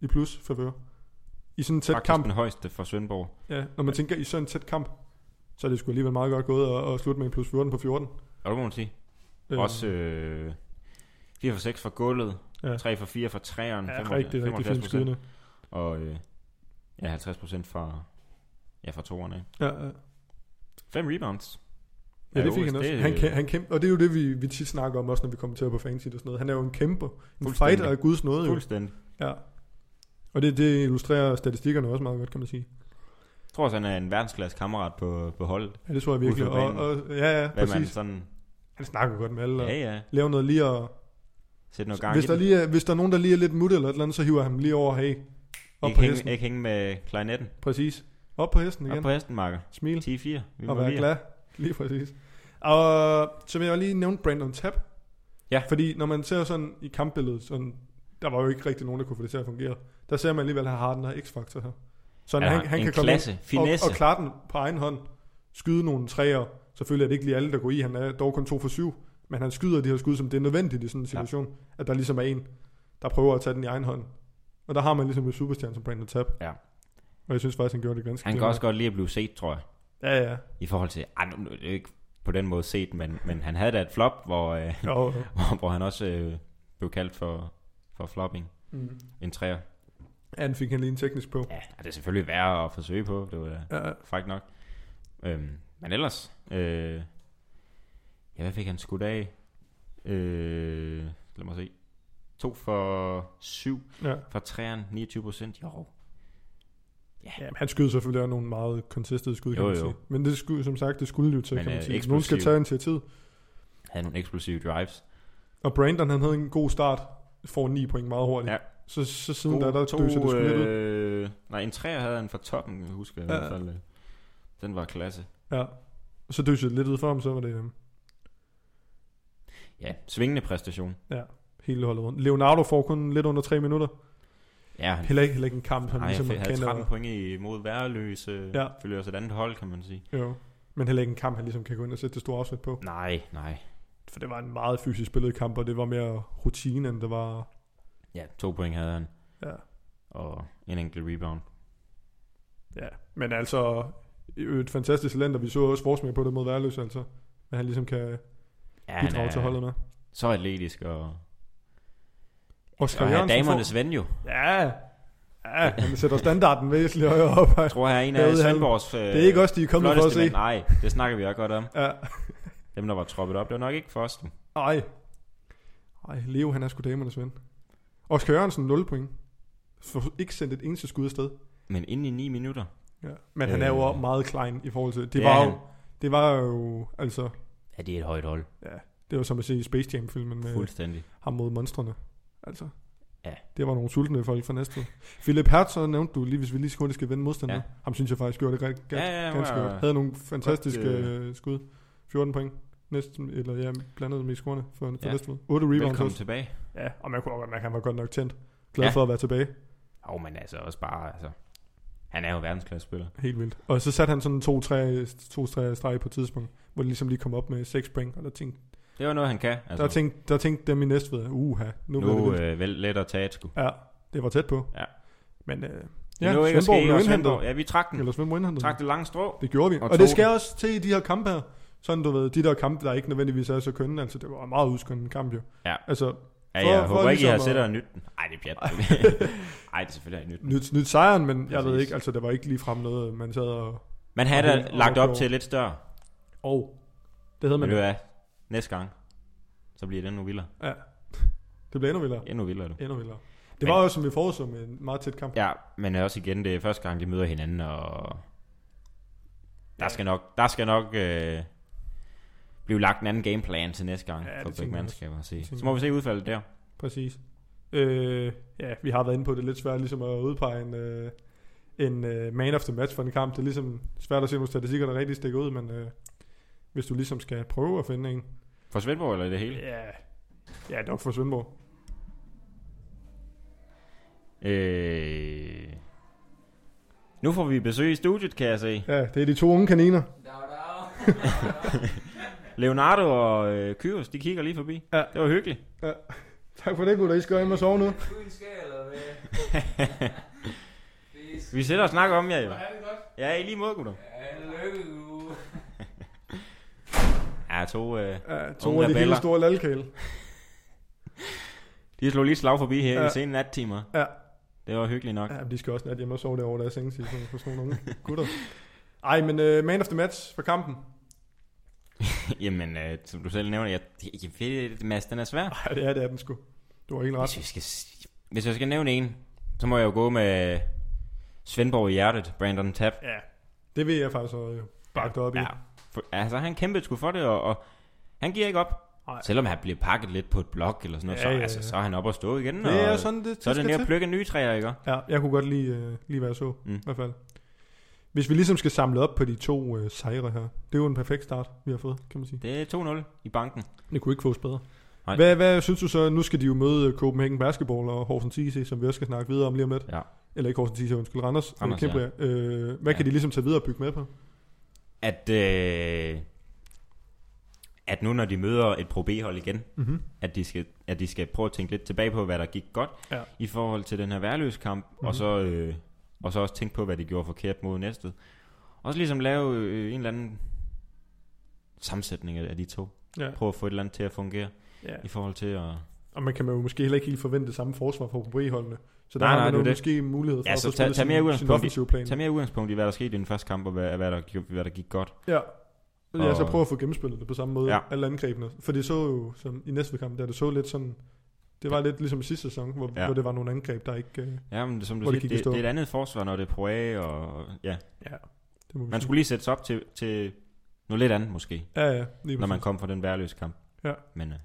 S1: i plus favør. I sådan en tæt
S2: Faktisk
S1: kamp,
S2: den højeste for Svendborg.
S1: ja, når man tænker i sådan en tæt kamp, så er det sgu alligevel meget godt gået at, at slutte med en plus 14 på 14.
S2: Og det må man sige.
S1: Øh,
S2: Øh. Også øh, 4 for 6 for gulvet.
S1: Ja.
S2: Ja. 3 for 4 for træeren.
S1: ja, rigtig, rigtig fint skydende.
S2: Og øh, ja, 50 procent fra, ja, fra toerne. af.
S1: Ja, ja.
S2: Fem rebounds.
S1: ja, det
S2: Ores,
S1: fik han også.
S2: det,
S1: Han,
S2: øh,
S1: kæm- han kæmper, og det er jo det, vi, vi tit snakker om, også når vi kommenterer på fansit og sådan noget. Han er jo en kæmper, en
S2: Fuldstændig.
S1: fighter af guds nåde. Jo.
S2: Fuldstændig.
S1: Ja. Og det, det illustrerer statistikkerne også meget godt, kan man sige.
S2: Jeg tror også, han er en verdensklasse kammerat på, på holdet.
S1: Ja, det tror jeg virkelig.
S2: Ud
S1: Og,
S2: for
S1: og, ja, ja,
S2: Hvad man
S1: præcis.
S2: sådan...
S1: Han snakker godt med alle, og
S2: Ja, ja.
S1: laver noget lige og
S2: Sæt noget gang
S1: hvis
S2: i
S1: der,
S2: den.
S1: lige er, hvis der er nogen, der lige er lidt mut eller et eller andet, så hiver han lige over, hey, op
S2: ikke,
S1: på hesten.
S2: hænge, ikke hænge med klarinetten.
S1: Præcis. Op på hesten igen.
S2: Op på hesten, Marker.
S1: Smil
S2: 10-4. Vi må
S1: og være
S2: lige.
S1: glad. Lige præcis. Og som jeg lige nævnte, Brandon Tapp.
S2: Ja.
S1: Fordi når man ser sådan i kampbilledet, sådan, der var jo ikke rigtig nogen, der kunne få det til at fungere. Der ser man alligevel, at han har den her x-faktor her. Så
S2: Han,
S1: han,
S2: har
S1: han, han
S2: en
S1: kan komme ind
S2: klasse,
S1: og,
S2: finesse.
S1: og klare den på egen hånd. Skyde nogle træer. Selvfølgelig er det ikke lige alle, der går i. Han er dog kun 2 for 7. Men han skyder de her skud, som det er nødvendigt i sådan en situation. Ja. At der ligesom er en, der prøver at tage den i egen hånd. Og der har man ligesom en superstjerne som Brandon Tapp.
S2: Ja.
S1: Og jeg synes faktisk, han gjorde det ganske
S2: Han kan
S1: glimrende.
S2: også godt lide at blive set, tror jeg.
S1: Ja, ja.
S2: I forhold til, ej, nu- nu er det jo ikke på den måde set, men, men han havde da et flop, hvor, øh,
S1: Jo, jo.
S2: hvor, <laughs> hvor han også øh, blev kaldt for, for flopping.
S1: Mm.
S2: En træer.
S1: Ja, den fik han lige en teknisk på.
S2: Ja, det er selvfølgelig værre at forsøge på. Det var da
S1: Ja,
S2: frækt nok. Øhm, men ellers... Øh, ja, hvad fik han skudt af? Øh, lad mig se. 2 for 7
S1: ja.
S2: fra træeren. 29 procent. Jo,
S1: ja men han skyder selvfølgelig også nogle meget contested skud, kan
S2: Jo,
S1: man
S2: jo.
S1: sige. Men det skulle, som sagt, det skulle jo til,
S2: Men,
S1: kan man
S2: øh,
S1: sige. Nogen skal
S2: eksplosiv.
S1: tage initiativ.
S2: havde nogle eksplosive drives.
S1: Og Brandon, han havde en god start. Får 9 point meget hurtigt.
S2: Ja.
S1: Så, så siden der, der døser det sgu lidt ud.
S2: øh, Nej, en træer havde han fra toppen, jeg husker jeg ja. i
S1: Ja.
S2: hvert fald. øh. Den var klasse.
S1: Ja. Og så døser det lidt ud for ham, så var det øh,
S2: Ja, svingende præstation.
S1: hele holdet rundt. Leonardo får kun lidt under 3 minutter.
S2: Ja, han
S1: Heller ikke, heller ikke en kamp, han
S2: nej,
S1: ligesom
S2: han havde
S1: kender.
S2: 13 point imod værløse.
S1: Ja.
S2: Ja. Følger også et andet hold, kan man sige.
S1: Jo. Men heller ikke en kamp, han ligesom kan gå ind og sætte det store afsæt på.
S2: Nej, nej.
S1: For det var en meget fysisk spillet kamp, og det var mere rutine, end det var...
S2: Ja, to point havde han.
S1: Ja.
S2: Og en enkelt rebound.
S1: Ja, men altså, i øvrigt et fantastisk talent, og vi så også Forsmæk på det mod Værløs, altså. Men han ligesom kan
S2: Ja,
S1: bidrage til holdet med.
S2: så atletisk og...
S1: Oscar
S2: Og have
S1: Jørgensen
S2: damernes ven jo.
S1: får... Ja, ja, han sætter standarden væsentligt højere op.
S2: Jeg tror, jeg er en
S1: Derude
S2: af
S1: i hallen.
S2: Svendborgs... Øh,
S1: Det er ikke også de er kommet for at se.
S2: mænd. Nej, det snakker vi også godt om.
S1: Ja.
S2: Dem, der var troppet op, det var nok ikke for os. du.
S1: Ej. Ej, Leo, han er sgu damernes ven. Oscar Jørgensen, 0 point. For ikke sendt et eneste skud afsted.
S2: Men inden i 9 minutter.
S1: Ja. Men han er jo
S2: Øh.
S1: også meget klein i forhold til... Det,
S2: Ja,
S1: var jo,
S2: han-
S1: det var jo... Altså,
S2: Ja, det er et højt hold.
S1: det var som at se i Space Jam-filmen med...
S2: Fuldstændig.
S1: ham mod monstrene. Altså.
S2: Ja.
S1: Det var nogle sultne folk fra næste. Philip Hertz, så nævnte du lige, hvis vi lige skulle skal vende modstander. Ja.
S2: Ja.
S1: Ham synes jeg faktisk gjorde det ganske,
S2: Ja,
S1: ganske,
S2: ja, ja,
S1: ganske
S2: ja.
S1: godt. Havde nogle fantastiske
S2: Godt,
S1: øh, skud. 14 point. Næsten, eller ja, blandet med scorene for, for ja.
S2: Ja.
S1: Næstved. 8 rebounds
S2: Velkommen
S1: også.
S2: tilbage.
S1: Ja, og man kunne også godt mærke, at han var godt nok tændt. Glad
S2: Ja.
S1: for at være tilbage.
S2: Jo, men altså også bare... Altså, han er jo verdensklasse spiller.
S1: Helt vildt. Og så satte han sådan to tre, to tre streg på et tidspunkt, hvor de ligesom lige kom op med 6 point, og der tænkte,
S2: Det var noget, han kan. Altså,
S1: altså. der tænkte, der tænkte dem i Næstved, uha, nu,
S2: nu,
S1: nu blev det vildt.
S2: øh, vel let at tage et sgu.
S1: Ja, det var tæt på.
S2: Ja.
S1: Men øh,
S2: Det nåede ikke at ske, og Svendborg- Ja, vi trak den.
S1: Eller Svendborg indhentet.
S2: Trak det lange strå.
S1: Det gjorde vi.
S2: Og
S1: Og, og
S2: tog
S1: det
S2: den.
S1: skal også til i de her kampe her. Sådan du ved, de der kampe, der ikke nødvendigvis er så kønne. Altså det var en meget uskønnet kamp jo.
S2: Ja.
S1: Altså
S2: Ja,
S1: For-
S2: jeg
S1: for
S2: for håber ikke, I har
S1: ligesom at-
S2: sætter og nyt den. Nej, det
S1: <laughs>
S2: er pjat. Nej, det er selvfølgelig ikke nyt. den.
S1: Nyt, nyt sejren, men jeg ved
S2: Præcis.
S1: ikke, altså der var ikke ligefrem noget, man sad og...
S2: Man havde da
S1: Okay,
S2: lagt op
S1: okay.
S2: til lidt større.
S1: Og det havde
S2: Men
S1: man.
S2: det
S1: Det,
S2: er næste gang, så bliver det endnu vildere.
S1: det blev endnu vildere.
S2: Endnu vildere, du.
S1: Endnu vildere. Det
S2: Men-
S1: var også, som vi forudså, med en meget tæt kamp.
S2: Ja, men også igen, det er første gang, de møder hinanden, og der skal nok, der skal nok øh, blive lagt en anden gameplan til næste gang
S1: Ja,
S2: ja,
S1: det
S2: for
S1: tænker jeg
S2: begge mandskaber. at se.
S1: Det tænker
S2: Så må vi se udfaldet der.
S1: Præcis. Øh, ja, vi har været inde på det er lidt svært ligesom at udpege en, øh, en øh, man of the match for en kamp. Det er ligesom svært at se nogle statistikker, der rigtig stikker ud, men øh, hvis du ligesom skal prøve at finde en.
S2: For Svendborg eller i det hele?
S1: Ja, ja nok for Svendborg.
S2: Øh, nu får vi besøg i studiet, kan jeg se.
S1: Ja, det er de to unge kaniner.
S3: Dag, dag.
S2: Leonardo og øh, Kyros, de kigger lige forbi.
S1: Ja.
S2: Det var hyggeligt.
S1: Tak for det, gutter. I skal hjem og sove nu.
S3: Uden skæg, eller hvad? Please.
S2: Vi sætter og snakker om jer jo.
S3: Har det godt?
S2: Ja, i lige måde, gutter.
S3: Ja, lykke, du.
S2: Ja, to, øh,
S1: Ja, to
S2: Unge
S1: af de
S2: rebeller.
S1: helt store lalkæle.
S2: de slog lige et slag forbi her ja.
S1: Ja.
S2: i sene nattimer.
S1: Ja.
S2: Det var hyggeligt nok.
S1: Ja, men de skal også nat hjemme og sove derovre, der er sengetid for, for sådan nogle <laughs> unge gutter. Ej, men øh, man of the match for kampen.
S2: <laughs> Jamen, øh, som du selv nævner, jeg, det- jeg ved, det, Mads, den er svær.
S1: Ej, det er det er den sgu. Du har helt ret.
S2: Hvis jeg, skal, s- hvis jeg skal nævne en, så må jeg jo gå med Svendborg i hjertet, Brandon Tapp.
S1: Ja, det vil jeg faktisk også øh, bakke dig op i.
S2: Ja, for, altså han kæmpede sgu for det, og, og han giver ikke op.
S1: Nej.
S2: Selvom han bliver pakket lidt på et blok eller sådan noget,
S1: Ja,
S2: ja, så,
S1: ja, ja.
S2: Altså, så er han oppe og stå igen.
S1: Det er
S2: og,
S1: sådan, det,
S2: så er det
S1: skal
S2: nede
S1: til.
S2: at plukke nye træer, ikke?
S1: Ja, jeg kunne godt lide, øh, lide hvad jeg så, mm.
S2: Mm.
S1: i hvert fald. Hvis vi ligesom skal samle op på de to øh, sejre her. Det er jo en perfekt start, vi har fået, kan man sige.
S2: Det er 2-0 i banken.
S1: Det kunne ikke fås bedre.
S2: Nej.
S1: Hvad, hvad synes du så, nu skal de jo møde øh, Copenhagen Basketball og Horsens TC, som vi også skal snakke videre om lige om lidt.
S2: Ja.
S1: Eller ikke Horsens TC, undskyld, Randers.
S2: Randers,
S1: Randers ja. øh, hvad ja.
S2: Ja.
S1: kan de ligesom tage videre og bygge med på?
S2: At, øh, at nu når de møder et Pro B-hold igen,
S1: Mm-hmm.
S2: at de, skal, at de skal prøve at tænke lidt tilbage på, hvad der gik godt
S1: Ja.
S2: ja. i forhold til den her værløs kamp, mm-hmm.
S1: Mhm.
S2: og, så, øh, og så også tænke på, hvad de gjorde forkert mod næstet. Og så ligesom lave øh, en eller anden sammensætning af af de to.
S1: Ja.
S2: Prøve at få et eller andet til at fungere
S1: Ja.
S2: i forhold til at...
S1: Og man kan jo måske heller ikke helt forvente det samme forsvar fra OB-holdene. Så der
S2: Nej,
S1: har
S2: nej,
S1: man
S2: det er
S1: jo
S2: det.
S1: måske mulighed for
S2: Ja,
S1: at
S2: så
S1: få
S2: tag-
S1: spillet
S2: tag
S1: sin-
S2: mere
S1: sin
S2: udgangspunkt i-
S1: offensive plan.
S2: Tag mere udgangspunkt i, hvad der skete i den første kamp, og hvad, hvad, der, gjorde- hvad der gik godt.
S1: Ja. Ja, så
S2: Og-
S1: prøv at få gennemspillet det på samme måde, ja.
S2: Ja.
S1: alle angrebene. For det så jo, som i næste kamp, der det så lidt sådan, det var lidt ligesom i sidste sæson, hvor, ja.
S2: Ja.
S1: hvor det var nogle angreb, der ikke... Øh,
S2: Ja, men som du
S1: Hvor det
S2: siger,
S1: gik
S2: det,
S1: i
S2: det,
S1: stå.
S2: det, er et andet forsvar, når det er Poirier, og ja.
S1: det må vi
S2: Man
S1: sige.
S2: skulle lige sætte sig op til, til noget lidt andet måske.
S1: Ja, ja, lige
S2: når man
S1: præcis.
S2: kom fra den værløse kamp.
S1: Ja.
S2: Men, øh,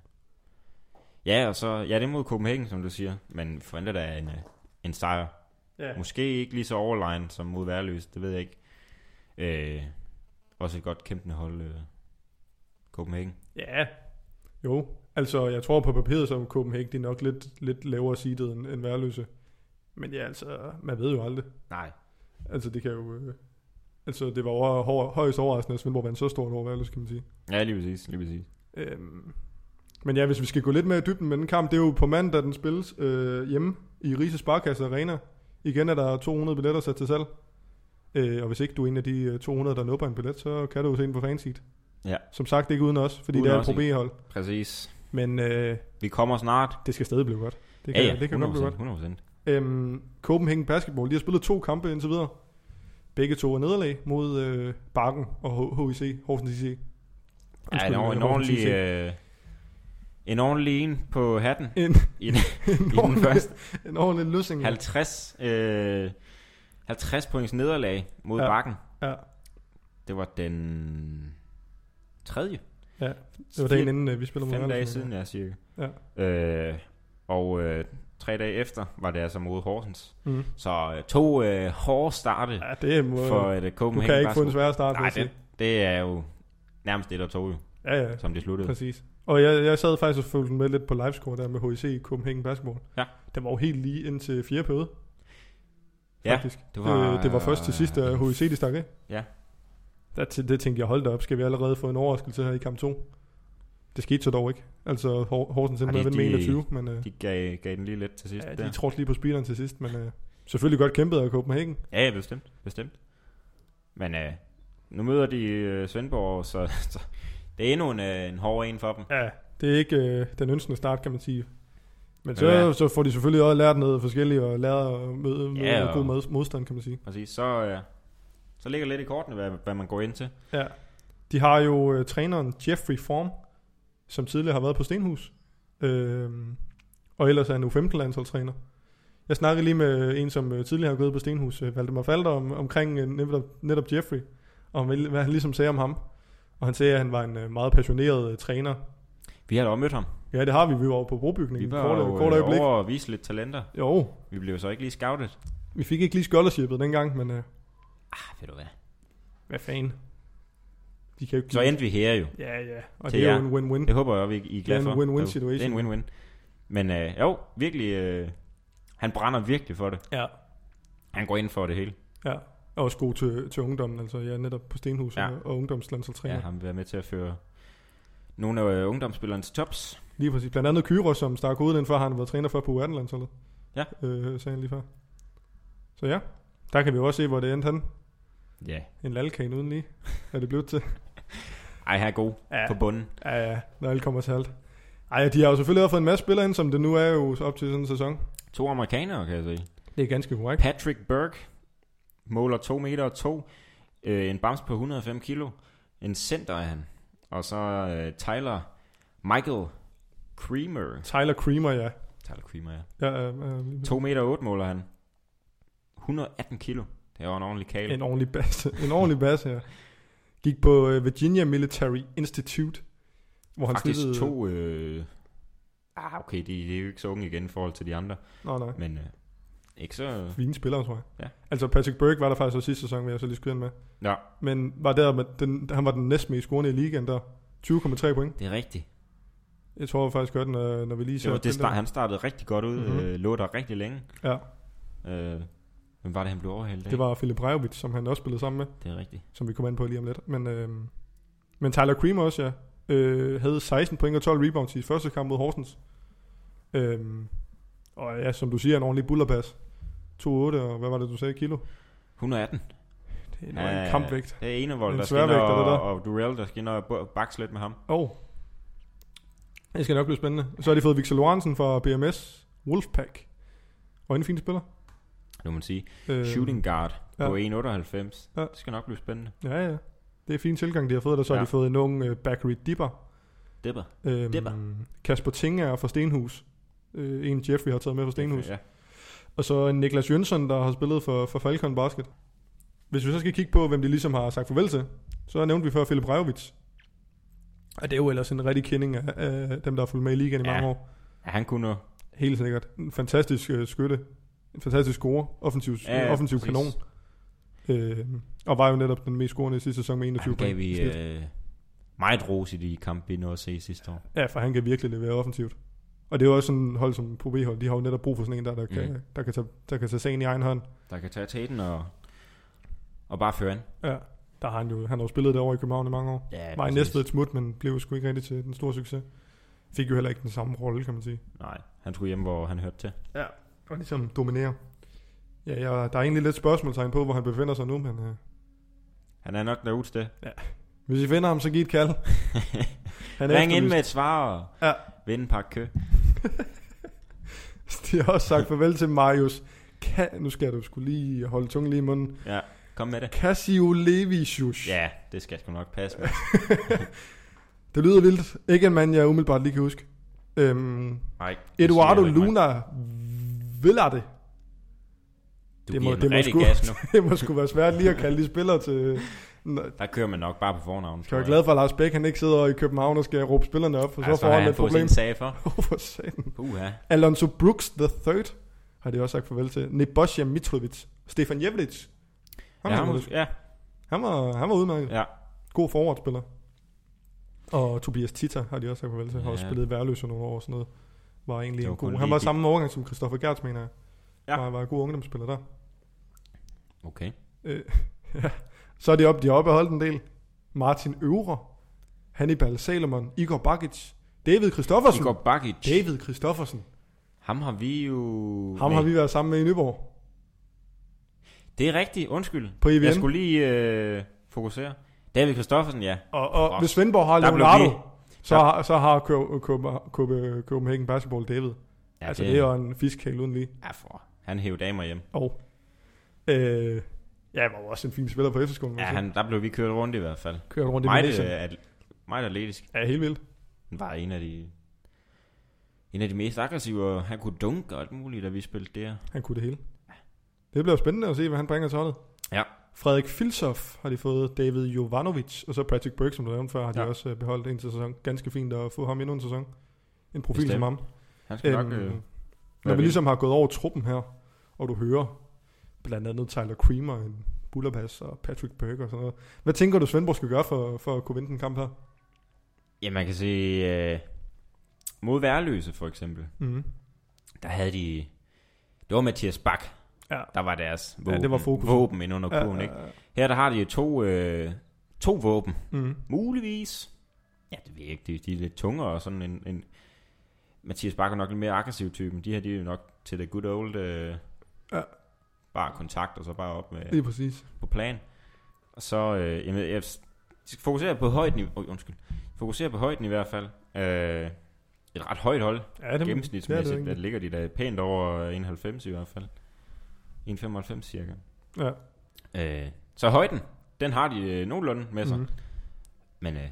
S2: ja, og så, ja, det er mod Copenhagen, som du siger, men forventer da en, øh, en sejr.
S1: Ja.
S2: Måske ikke lige så overlegen som mod værløse, det ved jeg ikke. Øh, også et godt kæmpende hold, øh, Copenhagen.
S1: ja. Jo, altså jeg tror på papiret, så er Copenhagen de er nok lidt, lidt lavere seedet end, end værløse. Men ja, altså, man ved jo aldrig.
S2: Nej.
S1: Altså det kan jo... Øh, altså det var over, hår, højst overraskende, at Svendborg vandt så stort over værløse, kan man sige.
S2: Ja, lige præcis, lige præcis.
S1: Øhm. Men ja, hvis vi skal gå lidt mere i dybden med den kamp, det er jo på mandag, den spilles øh, hjemme i Rises Sparkasse Arena. Igen er der 200 billetter sat til salg. Øh, og hvis ikke du er en af de øh, 200, der nupper en billet, så kan du jo se den på fanseat.
S2: Ja.
S1: Som sagt, ikke uden os, fordi
S2: Uden
S1: det er
S2: os,
S1: et pro hold
S2: Præcis.
S1: Men øh,
S2: Vi kommer snart.
S1: det skal stadig blive godt. Det kan, det kan godt blive godt.
S2: 100%.
S1: Øhm, Copenhagen Basketball, de har spillet to kampe indtil videre. Begge to er nederlag mod øh, Bakken og H- HIC, Horsens IC.
S2: Ja, en,
S1: Undskyld,
S2: or- en
S1: Horsens
S2: ordentlig...
S1: <laughs> IC.
S2: Øh, en ordentlig en på hatten
S1: En-
S2: i, den, i
S1: en,
S2: den
S1: ordentlig,
S2: første.
S1: en ordentlig løsning.
S2: 50, øh, 50 points nederlag mod
S1: Ja.
S2: ja. Bakken.
S1: Ja.
S2: Det var den tredje.
S1: Ja, Det var dagen inden, øh, vi spillede mod
S2: Fem dage
S1: Andersen.
S2: siden, ja, cirka.
S1: Ja.
S2: Øh, og øh, tre dage efter var det altså mod Horsens.
S1: Mm.
S2: Så øh, to øh, hårde starte
S1: Ja, det må...
S2: for at øh,
S1: du
S2: Copenhagen
S1: kan ikke få en
S2: Basketball.
S1: svær start, vil
S2: Nej,
S1: jeg sige.
S2: det, det er jo nærmest det, der tog jo,
S1: Ja, ja,
S2: som det sluttede.
S1: præcis. Og jeg, jeg sad faktisk og fulgte med lidt på livescore der med HIC i Copenhagen Basketball.
S2: Ja.
S1: Den var jo helt lige ind til fjerde periode.
S2: Ja,
S1: faktisk.
S2: Det
S1: Øh, det var først til sidst, at HIC de stak af.
S2: Ja.
S1: Der, til- det tænkte jeg, hold da op, skal vi allerede få en overraskelse her i kamp 2? Det skete så dog ikke. Altså, Hor- Horsens endte med at
S2: Ej,
S1: vinde
S2: de-
S1: med 21, men øh,
S2: De gav, gav den lige lidt til sidst.
S1: ja,
S2: Ja,
S1: de
S2: der.
S1: trådte lige på speederen til sidst, men øh, selvfølgelig godt kæmpet af Copenhagen.
S2: ja, ja bestemt. bestemt. Men øh, nu møder de øh, Svendborg, så, <laughs> så det er endnu en, øh, en hård en for dem.
S1: Ja, det er ikke øh, den ønskende start, kan man sige. Men
S2: Men
S1: så,
S2: hvad-
S1: så får de selvfølgelig også lært noget forskelligt, og lært at møde, møde
S2: Ja,
S1: ja,
S2: og-
S1: god mod, modstand, kan man sige.
S2: Præcis. Så, øh, så ligger lidt i kortene, hvad, hvad man går ind til.
S1: Ja. De har jo øh, træneren Jeffrey Form, som tidligere har været på Stenhus. Øh, og ellers er han U15-landsholdstræner. Jeg snakkede lige med en, som øh, tidligere har gået på Stenhus, øh, Valdemar Falter, om, omkring øh, netop, netop Jeffrey, og om, hvad han ligesom sagde om ham. Og han sagde, at han var en øh, meget passioneret øh, træner.
S2: Vi har da også mødt ham.
S1: Ja, det har vi. Vi var over på
S2: Vi
S1: brobygningen.
S2: var
S1: Kort,
S2: jo
S1: kort
S2: øh,
S1: øjeblik.
S2: over at vise lidt talenter.
S1: Jo,
S2: Vi blev så ikke lige scoutet.
S1: vi fik ikke lige scholarshipet dengang, men øh,
S2: Ah, ved du hvad.
S1: hvad fanden. De kan jo ikke
S2: Så endte vi her jo.
S1: Ja, ja. Og
S2: Til
S1: det er jo en
S2: jer.
S1: win-win.
S2: Det håber jeg også, I er glade
S1: Det
S2: for.
S1: er en win-win
S2: Jo,
S1: situation.
S2: Det er en win-win. Men øh, jo, virkelig, øh, han brænder virkelig for det.
S1: Ja.
S2: Han går ind for det hele.
S1: Ja, og også god til, til ungdommen, altså jeg er netop på Stenhuset ja.
S2: Ja.
S1: og ungdomslandsholdstræner.
S2: Ja,
S1: Ja.
S2: han vil være med til at føre nogle af øh, ungdomsspillerne til tops.
S1: Lige præcis. Blandt andet Kyro, som stak ud den før, han har været træner for på U18-landsholdet.
S2: Ja.
S1: Øh, sagde han lige før. Så ja, der kan vi jo også se, hvor det endte han.
S2: Ja.
S1: En lalkane uden lige, er det blevet til.
S2: Ej, han er god
S1: Ja.
S2: på bunden.
S1: Ja, ja, når alt kommer til alt. Ej, de har jo selvfølgelig også fået en masse spillere ind, som det nu er jo op til sådan en sæson.
S2: To amerikanere, kan jeg sige.
S1: Det er ganske korrekt.
S2: Patrick Burke måler 2 meter og 2. Øh, en bams på 105 kilo. En center er han. Og så øh, Tyler Michael Creamer.
S1: Tyler Creamer, ja.
S2: Tyler Creamer, ja.
S1: ja øh,
S2: 2 meter og 8 måler han. 118 kilo. Det er jo en ordentlig kale.
S1: En ordentlig basse. En ordentlig basse, ja. Gik på øh, Virginia Military Institute, hvor han
S2: Faktisk
S1: snittede...
S2: to... Øh... Ah, okay, de, de er jo ikke så unge igen i forhold til de andre.
S1: Nå, nej.
S2: Men øh, ikke så... øh,
S1: Fine spillere, tror jeg.
S2: Ja.
S1: Altså Patrick Burke var der faktisk også sidste sæson, vil jeg så lige skyde ind med.
S2: Ja,
S1: Men var der med den, han var den næstmest scorende i ligaen der. 20,3 point.
S2: det er rigtigt.
S1: Jeg tror faktisk godt, når, når vi lige ser...
S2: Jo, det
S1: den der-
S2: start, han startede rigtig godt ud.
S1: Mhm.
S2: Mm-hmm. Øh, lå der rigtig længe.
S1: Ja.
S2: Øh, hvem var det, han blev overhældt af?
S1: det var Philip Rejovic, som han også spillede sammen med,
S2: det er rigtigt.
S1: som vi kommer ind på lige om lidt. Men, øh, men Tyler Cream også, ja. Øh, havde 16 point og 12 rebounds i første kamp mod Horsens. Øh, og ja, som du siger, en ordentlig bullerpas. 2,8 og hvad var det, du sagde, kilo?
S2: 118.
S1: Det er en ja, kampvægt.
S2: Det er
S1: En
S2: Enevold, der skal ind
S1: sværvægter, det der.
S2: og, og Durell, der skal ind og bo- bakse lidt med ham.
S1: Og oh. det skal nok blive spændende. Så har de fået Victor Lorentzen fra BMS, Wolfpack. Og en fin spiller.
S2: Nu må man sige.
S1: Øh,
S2: Shooting guard
S1: ja.
S2: på 1,98.
S1: Ja.
S2: Det skal nok blive spændende.
S1: Ja, ja. Det er fin tilgang, de har fået. Der så ja.
S2: Ja.
S1: har de fået en ung uh, Bakary Dipper.
S2: Dipper.
S1: Øhm,
S2: Dipper.
S1: Kasper Tinger er fra Stenhus. Øh, en Jeffrey har taget med fra Stenhus.
S2: Ja.
S1: Og så en Niklas Jønsson, der har spillet for, for Falcon Basket. Hvis vi så skal kigge på, hvem de ligesom har sagt farvel til, så nævnte vi før Philip Rejovic. Og det er jo ellers en rigtig kending af, af dem, der har fulgt med i ligaen i
S2: Ja.
S1: mange år.
S2: ja, han kunne noget.
S1: Helt sikkert. En fantastisk øh, skytte. En fantastisk score. Offensiv, ja, offensiv
S2: præcis.
S1: kanon. Øh, og var jo netop den mest scorende i sidste sæson med 21
S2: Han gav
S1: point. i
S2: vi
S1: snit.
S2: øh, meget ros i de kampe, vi nåede at se sidste år.
S1: Ja, for han kan virkelig levere offensivt. Og det er jo også sådan et hold som pro hold de har jo netop brug for sådan en, der, der, mm. kan,
S2: Mhm.
S1: der, kan, tage, der kan tage sagen i egen hånd.
S2: Der kan tage tæten og, og bare føre an.
S1: Ja, der har han jo, han har jo spillet derovre i København i mange år.
S2: Ja,
S1: Ja, var i
S2: præcis.
S1: næstved et smut, men blev jo sgu ikke rigtig til den store succes. Fik jo heller ikke den samme rolle, kan man sige.
S2: Nej, han skulle hjem, hvor han hørte til.
S1: Ja. Og ligesom dominerer. Ja, jeg, der er egentlig lidt spørgsmålstegn på, hvor han befinder sig nu, men øh,
S2: Han er nok derude til.
S1: hvis I finder ham, så giv et
S2: <laughs>
S1: kald. Han
S2: Ring ind
S1: efterlyst.
S2: med et svar og
S1: Ja.
S2: ja. vind en pakke kø.
S1: <laughs> De har også sagt farvel til Marius. Ka nu skal du skulle lige holde tungen lige i munden.
S2: Ja, kom med det.
S1: Casio Levisius.
S2: Ja, det skal sgu nok passe. mand.
S1: Det lyder vildt. Ikke en mand, jeg umiddelbart lige kan huske. Øhm,
S2: Nej, det
S1: Eduardo
S2: siger jeg ikke mig.
S1: Luna Villarde.
S2: Du
S1: Det
S2: det
S1: må-
S2: må,
S1: det
S2: giver den
S1: må
S2: rigtig
S1: sgu-
S2: gas nu.
S1: <laughs> Det må sgu være svært lige at kalde de spillere til... Nå,
S2: Der kører man nok bare på fornavn.
S1: Jeg er glad for, at Lars Bæk han ikke sidder i København og skal råbe spillerne op, for så
S2: Altså,
S1: får han et problem.
S2: sin sag for.
S1: <laughs> Åh, for satan.
S2: Uha.
S1: Alonso Brooks the third har de også sagt farvel til. Nebosja Mitrovic. Stefan Jevlic.
S2: Ja,
S1: Ham, ja,
S2: han,
S1: han,
S2: må- ja,
S1: han, var, han var udmærket.
S2: ja.
S1: god forwardspiller. Og Tobias Tita har de også sagt farvel til. Har også
S2: Ja.
S1: spillet i Værløse nogle år og sådan noget. Var egentlig
S2: Det var
S1: en god.
S2: kun
S1: Han
S2: lige
S1: var
S2: de-
S1: samme årgang som Christoffer Gertz, mener jeg. Ja.
S2: Ja.
S1: Var, var en god ungdomsspiller der.
S2: Okay.
S1: Så er de oppe, de har opbeholdt en del. Martin Øvre, Hannibal Salomon, Igor Bakic, David Christoffersen.
S2: Igor Bakic.
S1: David Christoffersen.
S2: Ham har vi jo...
S1: Ham
S2: Nej,
S1: har vi været sammen med i Nyborg.
S2: Det er rigtigt, undskyld.
S1: På E EVN.
S2: Jeg skulle lige øh, fokusere. David Christoffersen, ja.
S1: Og, og
S2: Fuck.
S1: hvis Svendborg har
S2: Der blev
S1: Leonardo,
S2: vi-
S1: så
S2: der-
S1: har, så har Kø- Kø- Kø- København Basketball David. Ja, altså, det, det er jo en fiskhale uden lige.
S2: Ja, for. Han hævde damer hjem.
S1: Og, øh, ja, var jo også en fin spiller på efterskolen.
S2: Ja, han, der blev vi kørt rundt i hvert fald.
S1: altså. kører rundt i
S2: Meget,
S1: Malaysia.
S2: øh, at, meget atletisk.
S1: Ja, helt vildt.
S2: Han var en af de... En af de mest aggressive, og han kunne dunke og alt muligt, da vi spillede der.
S1: Han kunne det hele. Det bliver spændende at se, hvad han bringer til holdet.
S2: Ja.
S1: Frederik Filsoff har de fået, David Jovanovic, og så Patrick Burke, som du nævnte før, har de
S2: Ja.
S1: også øh, beholdt indtil sæson. Ganske fint at få ham endnu en sæson. En profil
S2: Bestemt.
S1: som ham.
S2: Han skal nok... Øh,
S1: Øhm, når
S2: være
S1: vi
S2: vild.
S1: ligesom har gået over truppen her, og du hører blandt andet Tyler Creamer, en Bullerpass og Patrick Burke og sådan noget. Hvad tænker du, Svendborg skal gøre for, for at kunne vinde den kamp her?
S2: ja, man kan sige... Øh, mod Værløse, for eksempel.
S1: Mm.
S2: der havde de... Det var Mathias Bak,
S1: Ja.
S2: der var deres
S1: Ja,
S2: våben,
S1: det var fokus.
S2: våben ind under kurven. Ikke? Her der har de to, øh, to våben,
S1: Mm.
S2: muligvis. Ja, det ved jeg ikke, de, de er lidt tungere og sådan en... en Mathias Bak er nok lidt mere aggressiv typen. De her, de er jo nok til det good old... Øh,
S1: Ja.
S2: Bare kontakt, og så bare op med,
S1: Lige præcis.
S2: på plan. Og så, øh, jamen, jeg skal fokusere på højden i, oh, undskyld. Fokusere på højden i hvert fald. Øh, et ret højt hold.
S1: Ja, det,
S2: Gennemsnitsmæssigt
S1: det er
S2: det
S1: det
S2: der ligger de da pænt over 91 i hvert fald. 1,95 cirka.
S1: Ja.
S2: Øh, så højden, den har de øh, nogenlunde med sig. Mm.
S1: Mhm.
S2: Men øh,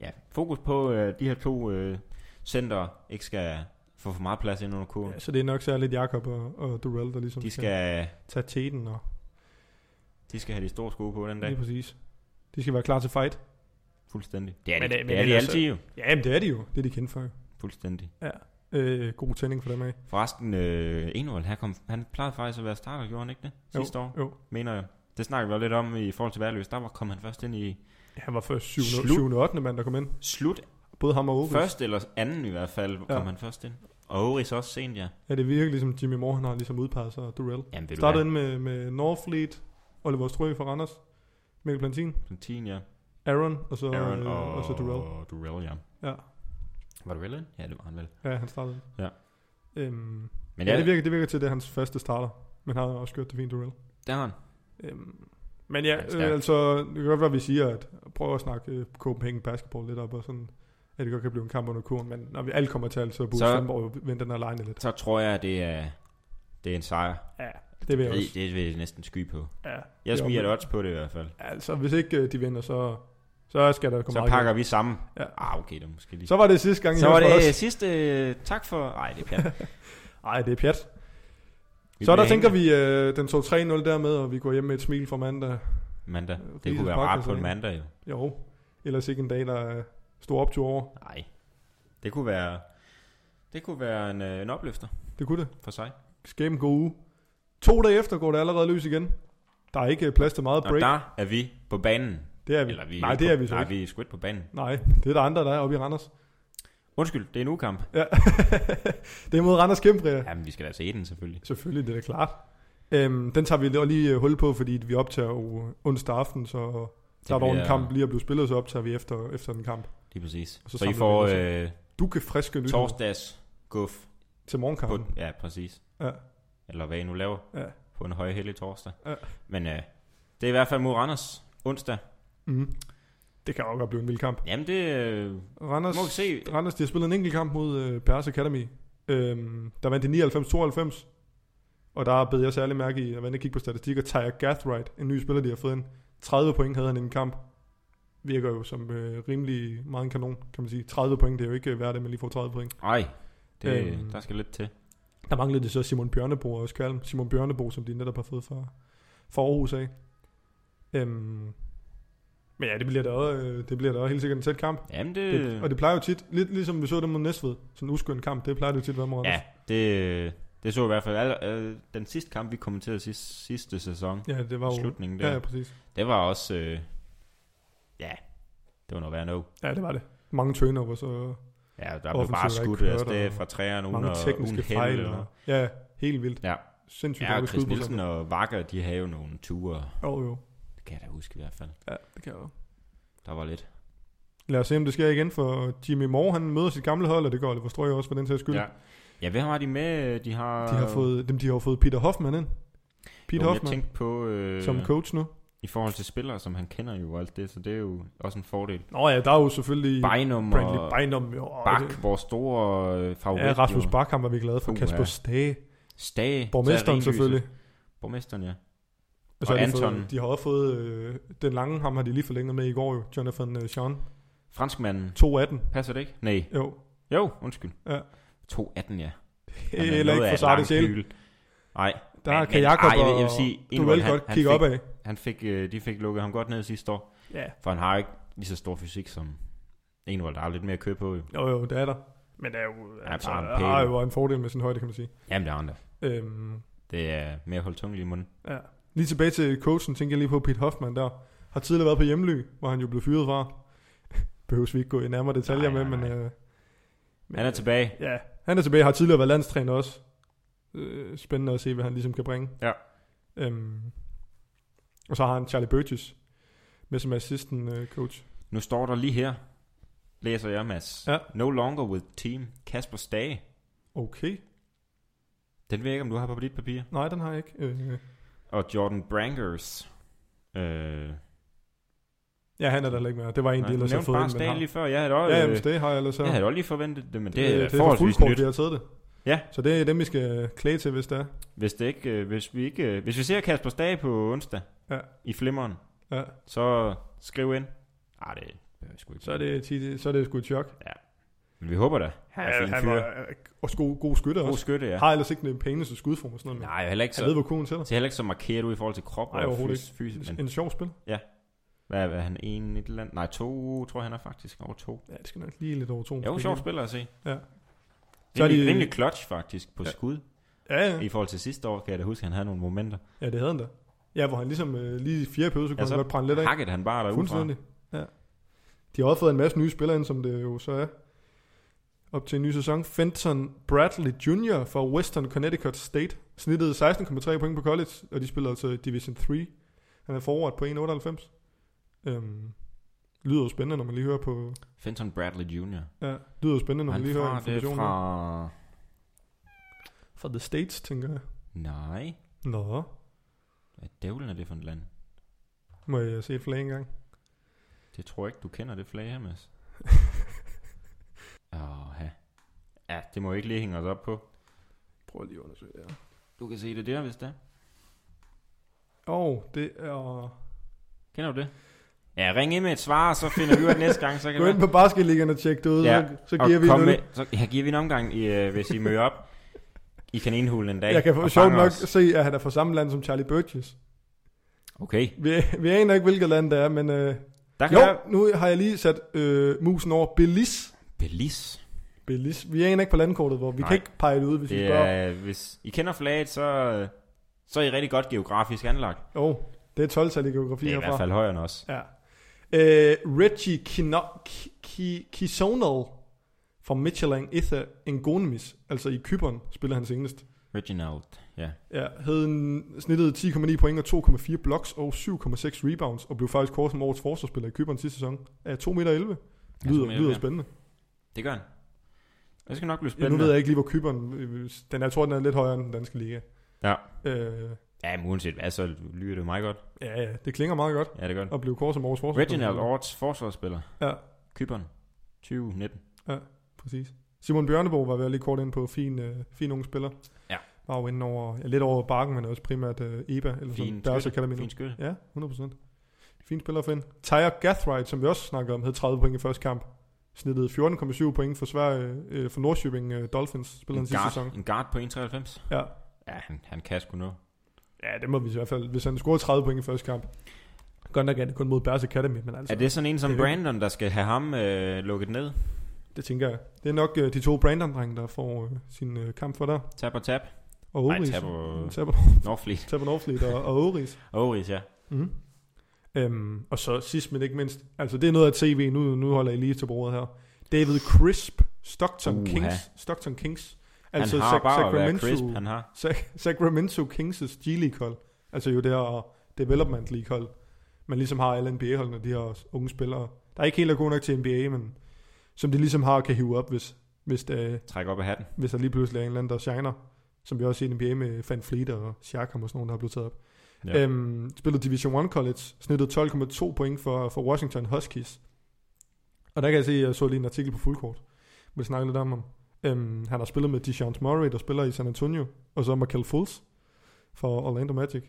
S2: ja, fokus på øh, de her to øh, center ikke skal få for meget plads ind under kurven.
S1: Ja, så det er nok særligt Jakob og, og Durrell, der ligesom
S2: De skal,
S1: tage teten og
S2: de skal have de store sko på den dag.
S1: Lige præcis. De skal være klar til fight.
S2: Fuldstændig. Det er de,
S1: Men, øh,
S2: det,
S1: men
S2: er de
S1: ellers,
S2: altid jo.
S1: Ja, men det er de jo. Det er de kendt for. jo.
S2: Fuldstændig.
S1: Øh, god tænding for dem af.
S2: Forresten, øh, Enold, her kom, han plejede faktisk at være starter, gjorde han ikke det?
S1: Jo,
S2: Sidste år,
S1: Jo.
S2: mener jeg. Det snakker vi jo lidt om i forhold til værløs. Der var, kom han først ind i
S1: Han var først 7.
S2: Slut.
S1: 7. 8. mand, der kom ind.
S2: slut
S1: Både ham og Aarhus.
S2: Først eller anden i hvert fald
S1: Ja.
S2: kom han først ind. Og Oris også sent, ja.
S1: Ja, det virker ligesom Jimmy Moore, han har ligesom udpeget sig og Durrell.
S2: Jamen, vil
S1: Startede
S2: du
S1: ind med, med Northfleet, Oliver Strø fra Randers, Mikkel Plantin,
S2: have Plantin, ja.
S1: Aaron og så,
S2: Aaron
S1: øh,
S2: og,
S1: og så Durrell.
S2: Og Durrell, ja.
S1: Ja.
S2: Var Durrell ind? Ja, det var han vel.
S1: Ja, han startede.
S2: Ja.
S1: Øhm,
S2: Men
S1: ja,
S2: ja,
S1: det virker, det virker til, at det er hans faste starter. Men han har også gjort det fint, Durrell.
S2: der har han.
S1: Øhm, men
S2: Han
S1: ja,
S2: er
S1: øh,
S2: stærk.
S1: altså, det kan godt være, at vi siger, at prøv at snakke øh, Copenhagen basketball lidt op, og sådan, at det godt kan blive en kamp under kurven, men når vi alle kommer til alt, så burde
S2: Så-
S1: Svendborg jo vinde den her line lidt.
S2: Så tror jeg, det er, det er en sejr.
S1: Ja, det vil jeg
S2: Det,
S1: også.
S2: det vil jeg næsten sky på.
S1: Ja,
S2: Jeg
S1: det er
S2: smiger et
S1: omvendt.
S2: odds på det i hvert fald.
S1: Altså, hvis ikke øh, de vinder, så, så skal der komme
S2: Så
S1: meget
S2: pakker vi sammen.
S1: Ja.
S2: Ah, okay, det er måske lige.
S1: Så var det sidste gang, I
S2: så var
S1: hørte fra
S2: det
S1: os.
S2: sidste. øh, Tak for... Ej, det er pjat.
S1: Ej, det er pjat.
S2: Vi
S1: <laughs> Så der
S2: bliver
S1: tænker
S2: hængende
S1: vi, øh, den tog 3-0 dermed, og vi går hjem med et smil fra mandag.
S2: Mandag.
S1: Øh,
S2: Det
S1: Rises
S2: kunne være rart
S1: podcast,
S2: på en
S1: ikke?
S2: mandag, jo.
S1: Jo, ellers ikke en dag, der er stor optur over.
S2: Nej. Det kunne være... Det kunne være en, øh, en opløfter
S1: Det kunne det.
S2: for sig.
S1: Skæm god uge. To dage efter går det allerede løs igen. Der er ikke øh, plads til meget
S2: Og
S1: break.
S2: der er vi på banen.
S1: Det er vi.
S2: Eller vi
S1: nej,
S2: ikke
S1: det
S2: på,
S1: er vi så
S2: Nej,
S1: ikke.
S2: vi er sgu ikke på banen.
S1: Nej, det er der andre, der er oppe i Randers.
S2: Undskyld, det er en ukamp.
S1: Ja. <laughs> det er mod Randers Kæmpe, ja.
S2: Jamen, vi skal da se den selvfølgelig.
S1: Selvfølgelig, det er da klart. Øhm, den tager vi lige- lige øh, hul på, fordi vi optager jo onsdag aften, så
S2: Det
S1: der er dog en
S2: bliver-
S1: kamp lige at blive spillet, så optager vi efter, efter den kamp.
S2: Lige præcis.
S1: Og så
S2: Så, så I
S1: samler
S2: får
S1: vi
S2: øh,
S1: Du kan friske nyt
S2: torsdags guf
S1: til
S2: på...
S1: morgenkampen.
S2: Ja, præcis.
S1: Ja.
S2: Eller hvad I nu laver
S1: Ja.
S2: på en høj hellig torsdag.
S1: Ja.
S2: Men øh, det er i hvert fald mod Randers onsdag.
S1: Mm. Det kan også godt blive en vild kamp.
S2: Jamen, det øh,
S1: Randers,
S2: må vi se.
S1: Randers, de har spillet en enkelt kamp mod øh, Pers Academy. Øhm, der vandt de 99-92. Og der bed jeg særlig mærke i, at man ikke kigge på statistikker. Tyre Gathright, en ny spiller, de har fået ind. 30 point havde han i en kamp. Virker jo som øh, rimelig meget en kanon, kan man sige. 30 point, det er jo ikke øh, hver dag, man lige får 30 point.
S2: Ej, det,
S1: Øhm.
S2: der skal lidt til.
S1: Der manglede det så Simon Bjørnebo og Skjern. Simon Bjørnebo, som de netop har fået fra, fra Aarhus af. Øhm, men ja, det bliver da også, øh, det bliver da også helt sikkert en tæt kamp.
S2: Jamen, det...
S1: Det, og det plejer jo tit, lidt ligesom vi så det mod Næstved, sådan en uskøn kamp, det plejer det jo tit at være mod
S2: ja,
S1: Randers.
S2: det, det så i hvert fald. Alle, øh, den sidste kamp, vi kommenterede sidste, sidste sæson,
S1: ja, det var jo...
S2: slutningen der,
S1: Ja, ja, præcis.
S2: det var også... Øh, ja, det var noget værd no.
S1: Ja, det var det. Mange turnovers og
S2: Ja, der blev
S1: Offensivt
S2: bare
S1: var ikke
S2: skudt
S1: kørt,
S2: af sted
S1: og
S2: fra træerne uden
S1: mange
S2: at-
S1: tekniske
S2: uden held
S1: fejl.
S2: eller-
S1: Og, ja, helt vildt.
S2: Ja.
S1: Sindssygt
S2: Ja,
S1: dårlig
S2: og Chris
S1: skudprocent.
S2: Nielsen og Vakker, de havde jo nogle ture.
S1: Jo, jo.
S2: Det kan jeg da huske i hvert fald.
S1: Ja, det kan jeg jo.
S2: Der var lidt.
S1: Lad os se, om det sker igen, for Jimmy Moore, han møder sit gamle hold, og det går Oliver Strøg også for den sags skyld.
S2: Ja. ja, hvad har de med? De har...
S1: De har fået, dem, de har jo fået Peter Hoffmann ind. Peter
S2: Øh. jo,
S1: Hoffmann
S2: Jeg tænkte på... Øh,
S1: som coach nu.
S2: I forhold til spillere, som han kender jo alt det, så det er jo også en fordel.
S1: Nå ja, der er jo selvfølgelig
S2: Bynum
S1: Brantley
S2: og
S1: Bynum. Jo, og
S2: Bak, vores store øh, favorit.
S1: Ja, Rasmus
S2: jo.
S1: Bak, ham var vi glade for.
S2: Puh,
S1: Kasper
S2: ja.
S1: Stage.
S2: Stage.
S1: Borgmesteren
S2: Terrinlyset.
S1: selvfølgelig.
S2: Borgmesteren, ja.
S1: Og, så
S2: Og
S1: har de, fået,
S2: Anton.
S1: de har også fået øh, den lange, ham har de lige forlænget med i går jo, Jonathan øh, Sean.
S2: Franskmanden.
S1: 2-18.
S2: Passer det ikke? Nej.
S1: Jo,
S2: Jo, undskyld.
S1: Ja.
S2: 2-18, ja. Han er
S1: heller
S2: noget
S1: ikke
S2: af
S1: for
S2: et
S1: sarte
S2: langt
S1: sjæl.
S2: hyl. Nej,
S1: Der
S2: Men-
S1: kan
S2: men-
S1: Jakob
S2: ej, jeg vil- jeg
S1: og
S2: vil sige,
S1: du
S2: Ingeborg,
S1: vel
S2: han-
S1: godt
S2: han
S1: kigge
S2: fik-
S1: op af.
S2: han fik, øh, de fik lukket ham godt ned sidste år,
S1: Ja.
S2: for han har ikke lige så stor fysik som Ingevold, der er lidt mere kød på. Jo.
S1: Jo, jo, det er der. Men der er jo,
S2: Ja,
S1: altså,
S2: så er han
S1: der er
S2: pæn.
S1: jo en fordel med sin højde, kan man sige.
S2: Jamen, det er han da.
S1: Øhm,
S2: Det er mere holdt tungt i munden.
S1: ja. Lige tilbage til coachen, tænker jeg lige på Pete Hoffman der. Har tidligere været på hjemly, hvor han jo blev fyret fra. <laughs> Behøves vi ikke gå i nærmere detaljer
S2: Nej,
S1: med,
S2: nej,
S1: men... Øh,
S2: nej.
S1: men, øh,
S2: Han er tilbage.
S1: Ja, han er tilbage, har tidligere været landstræner også. Øh, spændende at se, hvad han ligesom kan bringe.
S2: Ja.
S1: Øhm, og så har han Charlie Burgess med som assistant øh, coach.
S2: Nu står der lige her, læser jeg, Mads.
S1: Ja.
S2: No longer with team. Kasper Stage.
S1: Okay.
S2: Den ved jeg ikke, om du har på dit papir.
S1: Nej, den har jeg ikke. Øh,
S2: Og Jordan Brankers. Øh,
S1: ja, han er der heller ikke mere. Det var en,
S2: nej,
S1: de
S2: du
S1: ellers har
S2: nævnte
S1: fået.
S2: bare
S1: ind, men
S2: Stage
S1: har-
S2: lige før. Jeg havde da også,
S1: Ja,
S2: øh,
S1: jamen, det har jeg ellers her.
S2: jeg havde da også lige forventet det, men det,
S1: det,
S2: er
S1: det er for
S2: forholdsvis
S1: fuldkort,
S2: nyt.
S1: vi har taget det.
S2: Ja.
S1: Så det er dem, vi skal klage til, hvis det er.
S2: Hvis, det ikke, øh, hvis, vi ikke, øh, hvis vi ser Kasper Stage på onsdag
S1: Ja.
S2: i Flimmeren,
S1: Ja.
S2: så skriv ind. Nej, det behøver jeg sgu ikke.
S1: Så er det, ti- så er det sgu et chok.
S2: Men vi håber da. Han er fin fyr.
S1: var og sko, god skytter
S2: God
S1: også.
S2: skytte, ja.
S1: Har ellers ikke den pæneste skudform og sådan noget. men
S2: Nej, heller ikke
S1: Han ved,
S2: så,
S1: hvor kuglen tæller.
S2: så heller ikke så markeret ud i forhold til krop
S1: Nej,
S2: og
S1: overhovedet
S2: fys, fys, men
S1: En sjov spil.
S2: hvad, hvad er han? En et eller andet? Nej, to tror jeg, han er faktisk. Over to.
S1: Ja, det skal nok lige lidt over to.
S2: Jo, sjov spiller at se.
S1: Ja. Så
S2: Så
S1: er
S2: er de...
S1: de-
S2: Rimelig clutch faktisk på
S1: Ja.
S2: ja. skud.
S1: Ja, ja.
S2: I forhold til sidste år, kan jeg da huske, at han havde nogle momenter.
S1: ja, det havde han da. Ja, hvor han ligesom øh, lige i fjerde periode, så kunne
S2: Ja,
S1: ja,
S2: så
S1: han godt brænde lidt af.
S2: Hakket han bare derude fra.
S1: Fuldstændig. Ja. De har også fået en masse nye spillere ind, som det jo så er. Op til en ny sæson. Fenton Bradley Jr. fra Western Connecticut State. Snittede 16,3 point på college, og de spiller altså i Division 3. Han er forward på 1,98. Øhm, lyder jo spændende, når man lige hører på...
S2: Fenton Bradley Jr.
S1: Ja, lyder jo spændende, når
S2: Han
S1: man lige hører
S2: fra, det er
S1: informationen. Fra...
S2: fra...
S1: fra The States, tænker jeg.
S2: Nej.
S1: Nå,
S2: Hvad dævlen er det for et land?
S1: må jeg se et flag engang?
S2: Det tror jeg ikke, du kender det flag her,
S1: <laughs>
S2: Mads. Åh, ja. ja, det må vi ikke lige hænge os op på.
S1: Prøv lige at undersøge det her.
S2: Du kan se det der, hvis det er.
S1: Åh, oh, det er...
S2: Kender du det? Ja, ring ind med et svar, og så finder vi ud af det næste gang, så kan
S1: Gå
S2: det
S1: ind på basketligaen og tjek det ud,
S2: Ja,
S1: ja, så, så
S2: og
S1: giver vi en
S2: kom
S1: øl.
S2: med, så her giver vi en omgang, i, øh, hvis I møder op i kaninhulen en dag.
S1: Jeg kan
S2: og
S1: for sjovt
S2: fanger
S1: nok
S2: os.
S1: se, at han er fra samme land som Charlie Burgess.
S2: Okay,
S1: Vi, vi aner ikke, hvilket land det er, men... Øh,
S2: der kan
S1: jo,
S2: være...
S1: nu har jeg lige sat øh, musen over Belize.
S2: Belize.
S1: Belize. Vi aner ikke på landkortet, hvor vi
S2: Nej.
S1: kan ikke pege det ud, hvis vi
S2: Det
S1: spørger.
S2: er, hvis I kender flaget, så, øh, så er I rigtig godt geografisk anlagt.
S1: Jo, oh, det er 12 i geografi
S2: Det er i hvert
S1: herfra.
S2: fald højere end os.
S1: Ja. Øh, Reggie Kino- Ki- Ki- Kisonal fra Michelin Ether Engonemis, altså i Kypern, spiller han senest.
S2: Reginald, ja.
S1: Ja, havde en, snittede 10,9 point og 2,4 blocks og 7,6 rebounds, og blev faktisk kåret som årets forsvarsspiller i Køberen sidste sæson af 2,11 meter. Lyder,
S2: Ja, som jeg
S1: lyder
S2: ved.
S1: spændende.
S2: Det gør han. Det skal nok blive
S1: Ja,
S2: spændende.
S1: nu ved jeg ikke lige, hvor Køberen... øh, Den, er- jeg tror, den er lidt højere end den danske liga.
S2: Ja.
S1: Øh,
S2: Ja, men uanset hvad, så lyder det meget godt.
S1: ja, ja, det klinger meget godt
S2: Ja, det gør det.
S1: at blive kåret som årets forsvarsspiller.
S2: Reginald Orts forsvarsspiller.
S1: Ja.
S2: Kyberen. 2019.
S1: Præcis. Simon Bjørneborg var vel lige kort ind på fin, øh, fin unge spiller.
S2: Ja.
S1: Var jo inde over, ja, lidt over bakken, men også primært øh, EBA, eller sådan,
S2: Fin
S1: deres
S2: skytte.
S1: akademi. nu.
S2: Fin skytte.
S1: Ja, 100%. Fin spiller for en. Tyre Gathright, som vi også snakkede om, havde 30 point i første kamp. Snittede 14,7 point for, Sverige, øh, for Nordsjøbing øh, Dolphins, spillede
S2: En
S1: han sidste
S2: guard,
S1: sæson.
S2: en guard på 1,93.
S1: Ja.
S2: Ja, han, han kan sgu nå.
S1: ja, det må vi i hvert fald. Hvis han scorede 30 point i første kamp, godt nok er det kun mod Bears Academy, men altså,
S2: Er det sådan en som
S1: det er det.
S2: Brandon, der skal have ham øh, lukket ned?
S1: det tænker jeg. Det er nok øh, de to Brandon-drenge, der får øh, sin øh, kamp for der.
S2: Tab og tab.
S1: Og
S2: Nej,
S1: Oris.
S2: tab og
S1: Tab
S2: Norfleet.
S1: Tab Norfleet og, og Oris.
S2: Oris, ja.
S1: Mm. Øhm, og så sidst men ikke mindst, altså det er noget af tv, nu, nu holder jeg lige til bordet her. David Crisp, Stockton
S2: Uha.
S1: Kings. Stockton Kings.
S2: Han
S1: Altså
S2: har
S1: Sac-
S2: bare at være
S1: Sacramento,
S2: crisp, han har.
S1: Sac- Sacramento Kings' G-League hold. Altså jo der Development League hold. Man ligesom har alle NBA-holdene, de her unge spillere. Der er ikke helt er gode nok til NBA, men som de ligesom har og kan hive op, hvis, hvis, øh, der,
S2: Træk op af hatten.
S1: hvis der lige pludselig er en eller anden, der shiner. Som vi også har set i NBA med Van Fleet og Siakam og sådan nogen, der har blevet taget op.
S2: Ja.
S1: Ja. Øhm, spillede Division 1 College, snittede 12,2 point for, for Washington Huskies. Og der kan jeg se, at jeg så lige en artikel på Fuldkort, hvor de snakkede lidt om ham. Øhm, han har spillet med Deshaun Murray, der spiller i San Antonio, og så Michael Fultz for Orlando Magic.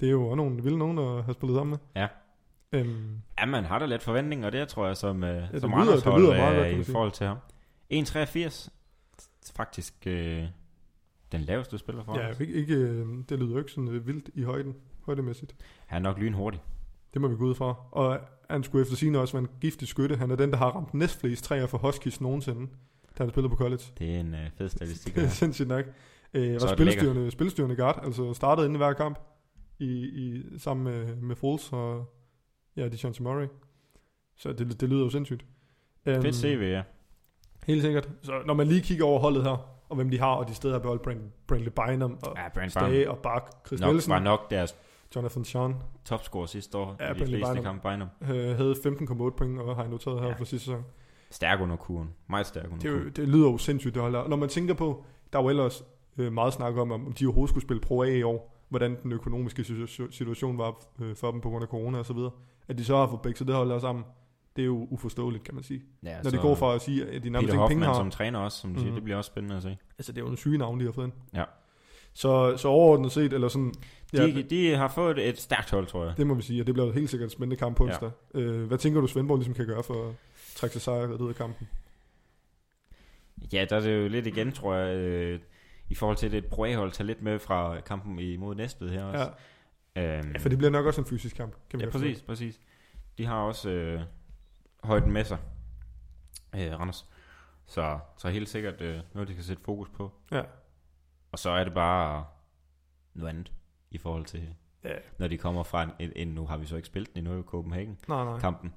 S1: Det er jo også nogle vilde nogen, der har spillet sammen med.
S2: Ja.
S1: Øhm,
S2: Ja, man har da lidt forventninger der, tror jeg, som, ja,
S1: det
S2: som
S1: lyder-
S2: Anders
S1: det lyder
S2: hold,
S1: meget
S2: øh,
S1: godt, kan
S2: i
S1: man sige.
S2: forhold til ham. 1,83. Faktisk øh, den laveste spiller for
S1: ja,
S2: ja,
S1: ikke, ikke, øh, det lyder jo ikke sådan øh, vildt i højden, højdemæssigt.
S2: Han er nok lynhurtig.
S1: Det må vi gå ud fra. Og han skulle efter sigende også være en giftig skytte. Han er den, der har ramt næstflest træer for Huskies nogensinde, da han spillede på college.
S2: Det er en øh,
S1: <laughs>
S2: fed statistik.
S1: Det er
S2: ja.
S1: sindssygt nok. Øh,
S2: Så
S1: var
S2: er det
S1: spilstyrende, spilstyrende guard, altså startede inden hver kamp i, i, sammen med, med Foles og ja, Dijon Murray. Så det, det lyder jo sindssygt. Um,
S2: Fedt CV, ja.
S1: Helt sikkert. Så når man lige kigger over holdet her, og hvem de har, og de steder har beholdt Brand, Brandley Bynum, og
S2: Ja, Brand Barn
S1: Stage, og Bak, Chris
S2: nok,
S1: Nielsen,
S2: var nok deres
S1: Jonathan Sean,
S2: topscorer sidste år
S1: Ja,
S2: ja, i de
S1: Brandon
S2: fleste
S1: Bynum.
S2: kampe Bynum.
S1: øh, havde 15,8 point, og har jeg noteret her
S2: Ja.
S1: ja. for sidste sæson.
S2: Stærk under kuren. Meget stærk under
S1: Det, er jo,
S2: kuren.
S1: det lyder jo sindssygt, det holder. Når man tænker på, der er jo ellers øh, meget snak om, om de overhovedet skulle spille Pro A i år, hvordan den økonomiske situ- situation var øh, for dem på grund af corona og så videre. At de så har fået begge, så det holder sammen. Det er jo uforståeligt, kan man sige.
S2: Ja,
S1: Ja, Når det går fra at sige, at de nærmest
S2: Altså, Peter
S1: ikke penge
S2: Hoffmann
S1: har.
S2: som træner også, som du siger,
S1: Mhm.
S2: det bliver også spændende at se.
S1: Altså, det er jo en syge navn, de har fået ind.
S2: Ja.
S1: Så, så overordnet set, eller sådan...
S2: De,
S1: Ja,
S2: ja, de har fået et, et stærkt hold, tror jeg.
S1: det må vi sige, og det bliver helt sikkert en spændende kamp på
S2: Ja.
S1: onsdag. Ja. Øh, hvad tænker du, Svendborg ligesom kan gøre for at trække sig sejret ud af kampen?
S2: Ja, der er det jo lidt igen, tror jeg, øh, i forhold til at det et pro-hold tager lidt med fra kampen imod Næstved her også.
S1: Ja.
S2: Ja, øhm,
S1: ja, for det bliver nok også en fysisk kamp, kan vi
S2: ja
S1: godt forstå.
S2: præcis, præcis. De har også øh, højden med sig, øh, Randers. Så, så helt sikkert øh, noget, de kan sætte fokus på.
S1: Ja.
S2: Og så er det bare noget andet i forhold til,
S1: Ja.
S2: når de kommer fra en, en, en nu har vi så ikke spillet den endnu i Copenhagen,
S1: Nej, nej.
S2: kampen.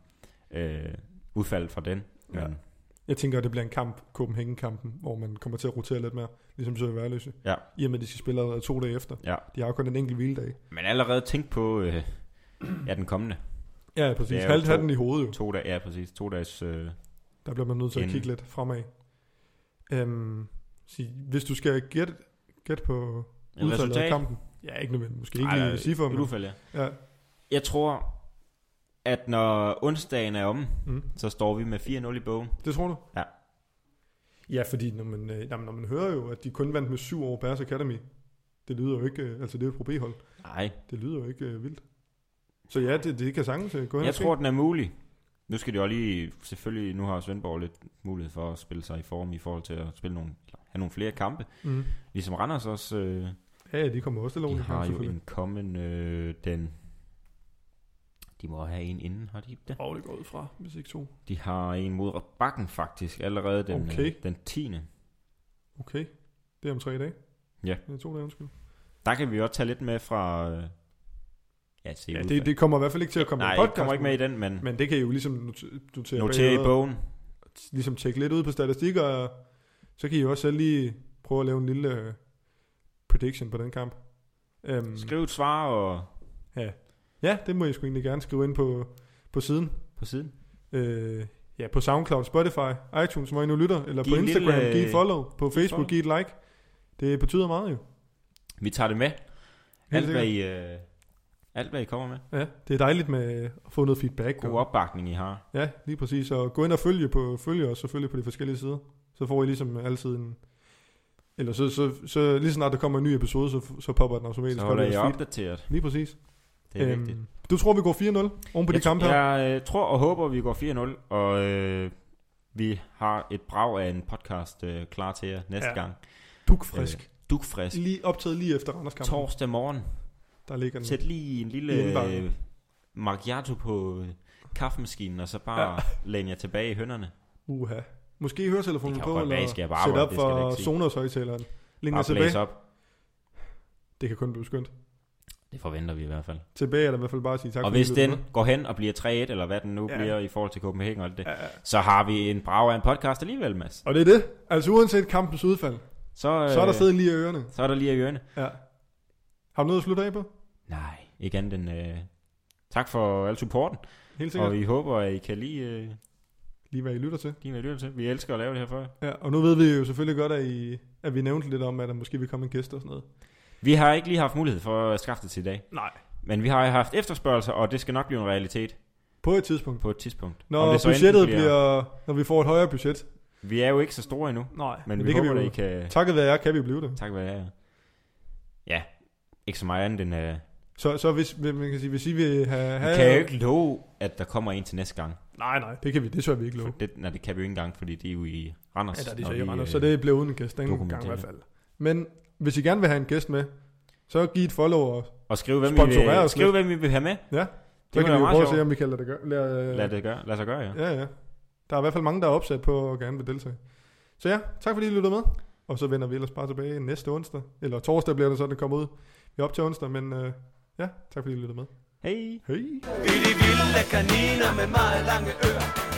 S2: Øh, udfaldet fra den.
S1: Ja.
S2: Men,
S1: Jeg tænker, at det bliver en kamp, Copenhagen-kampen, hvor man kommer til at rotere lidt mere, ligesom Søger Værløse.
S2: Ja.
S1: I og med, at de skal spille allerede to dage efter.
S2: Ja.
S1: De har jo kun en enkelt hviledag.
S2: men allerede tænk på øh, ja, den kommende.
S1: Ja, præcis.
S2: Det er jo
S1: Halvt
S2: to-
S1: have den i hovedet jo.
S2: To dage, ja præcis, to dages... Øh,
S1: Der bliver man nødt til at
S2: Inden.
S1: kigge lidt fremad. Øhm, sig, hvis du skal gætte gæt på udfaldet af kampen. Ja, ikke nødvendigt. Måske ikke Ej, i cifre,
S2: men...
S1: men...
S2: Udfald, ja.
S1: Ja,
S2: Jeg tror, at når onsdagen er omme,
S1: mm.
S2: så står vi med 4-0 i bogen.
S1: Det tror du?
S2: Ja.
S1: Ja, fordi når man, øh, jamen, når man hører jo, at de kun vandt med syv over Bears Academy, det lyder jo ikke... øh, Altså, det er jo et pro-B-hold.
S2: Nej,
S1: Det lyder jo ikke øh, vildt. Så ja, det, det kan sagtens øh, gå hen
S2: jeg
S1: og ske.
S2: tror, den er mulig. Nu skal det jo lige, selvfølgelig, nu har Svendborg lidt mulighed for at spille sig i form i forhold til at spille nogle, have nogle flere kampe.
S1: Mm.
S2: Ligesom Randers også, øh,
S1: Ja, de kommer også til
S2: de
S1: lovende
S2: har
S1: kamp,
S2: jo
S1: selvfølgelig.
S2: en kommende, øh, den, de må have en inden, har de ikke det?
S1: Åh, oh, det går ud fra, hvis ikke to.
S2: De har en mod bakken faktisk, allerede den, øh,
S1: Okay.
S2: den 10.
S1: Okay, det er om tre dage.
S2: Ja.
S1: Det er to dage, undskyld.
S2: Der kan vi også tage lidt med fra... Øh, ja, se
S1: Ja,
S2: ud
S1: det, det kommer i hvert fald ikke til at komme
S2: Nej,
S1: i
S2: jeg
S1: podcast.
S2: kommer ikke med i den, men
S1: Men det kan I jo ligesom not- notere,
S2: notere i
S1: bagved,
S2: bogen.
S1: og t- Ligesom tjekke lidt ud på statistik, og så kan I jo også selv lige prøve at lave en lille øh, prediction på den kamp. Um,
S2: Skriv et svar og
S1: ja, det må I sgu egentlig gerne skrive ind på, på siden.
S2: på siden.
S1: Øh, ja, på SoundCloud, Spotify, iTunes, hvor I nu lytter, eller
S2: Giv
S1: på
S2: en lille,
S1: Instagram, giv et
S2: øh,
S1: follow, på Facebook,
S2: follow.
S1: giv et like. Det betyder meget jo.
S2: Vi tager det med.
S1: Helt
S2: Alt hvad, I, øh, alt hvad I kommer med.
S1: Ja, det er dejligt med at få noget feedback.
S2: God opbakning I har.
S1: Ja, lige præcis. Og gå ind og følge, på, følge os selvfølgelig på de forskellige sider. Så får I ligesom altid en... Eller så, så, så lige snart der kommer en ny episode, så, så popper den automatisk.
S2: Så
S1: op
S2: holder
S1: i
S2: I
S1: jeres feed.
S2: opdateret.
S1: Lige præcis.
S2: Det er vigtigt.
S1: du tror, vi går 4-0 oven på Øhm, de
S2: Jeg,
S1: kampe
S2: tr-
S1: her?
S2: jeg øh, tror og håber, vi går 4-0, og øh, vi har et brag af en podcast øh, klar til jer næste
S1: Ja.
S2: gang.
S1: Duk frisk.
S2: Dugfrisk.
S1: Lige optaget lige efter Randers kampen.
S2: Torsdag morgen.
S1: Der ligger den.
S2: Sæt lige en lille
S1: I indbakken.
S2: øh, macchiato på øh, kaffemaskinen, og så bare ja. læn jer tilbage i hønderne.
S1: Uha. Måske høretelefonen
S2: Det kan
S1: på,
S2: jo godt være,
S1: eller
S2: I skal på
S1: sæt
S2: arbejde,
S1: op
S2: det skal jeg da ikke
S1: for
S2: sige.
S1: Sonos højtaleren. Læn
S2: Bare blæs
S1: tilbage.
S2: op.
S1: Det kan kun blive skønt.
S2: Det forventer vi i hvert fald.
S1: Tilbage er der i hvert fald bare at sige tak
S2: og
S1: fordi I
S2: hvis
S1: lyttede
S2: den
S1: med.
S2: går hen og bliver 3-1, eller hvad den nu ja.
S1: Ja.
S2: bliver i forhold til Copenhagen og alt det, ja.
S1: Ja, ja.
S2: så har vi en brav af en podcast alligevel, Mads.
S1: Og det er det. Altså uanset kampens udfald,
S2: Så, øh,
S1: så er der stadig lige i ørerne.
S2: så er der lige af hjørne.
S1: Ja. Har du noget at slutte af på?
S2: Nej, ikke andet end øh, tak for al supporten,
S1: Helt sikkert.
S2: og vi håber, at I kan lide, øh,
S1: Lige hvad I lytter til.
S2: lide hvad I lytter til. Vi elsker at lave det her for jer.
S1: Ja, og nu ved vi jo selvfølgelig godt, at, I, at vi nævnte lidt om, at der måske vil komme en gæst og sådan noget.
S2: Vi har ikke lige haft mulighed for at skaffe det til i dag,
S1: Nej.
S2: Men vi har jo haft efterspørgelser, og det skal nok blive en realitet
S1: På et tidspunkt.
S2: på et tidspunkt.
S1: Når
S2: Om
S1: det
S2: så enten
S1: budgettet bliver... Når vi får et højere budget.
S2: Vi er jo ikke så store endnu,
S1: Nej,
S2: men, men vi det håber, kan vi jo... det I kan...
S1: Takket være jer, kan vi blive det.
S2: Tak, hvad det er. Ja, ikke så meget andet end... Uh...
S1: Så, så hvis, hvis man kan sige, hvis I vil have...
S2: Vi
S1: have
S2: kan jo ikke love, at der kommer en til næste gang.
S1: Nej, nej, det kan vi. Det tør vi ikke love.
S2: For det, nej, det kan vi jo ikke engang, fordi det er jo i Randers.
S1: Ja, der er de
S2: når
S1: så i
S2: vi,
S1: Randers,
S2: øh,
S1: så det bliver uden en gæst den gang
S2: dokumenterer
S1: i hvert fald. Men hvis I gerne vil have en gæst med, så giv et follow og
S2: Og skriv, hvem, vi
S1: Sponsorere
S2: vil,
S1: os
S2: skriv,
S1: lidt.
S2: hvem vi vil have med.
S1: Ja,
S2: det
S1: så kan
S2: kan
S1: vi
S2: være
S1: jo
S2: meget
S1: prøve at
S2: sjovt.
S1: se, om vi kan lade det gøre. Lad,
S2: Lad, det gøre, lad sig gøre, ja.
S1: Ja, ja. Der er i hvert fald mange, der er opsat på at gerne vil deltage. Så ja, tak fordi I lyttede med. Og så vender vi ellers bare tilbage næste onsdag. Eller torsdag bliver det så, den kommer ud. Vi er op til onsdag, men øh, ja, tak fordi I lyttede med.
S2: Hej.
S1: Hej!
S4: I de vilde kaniner med meget lange ører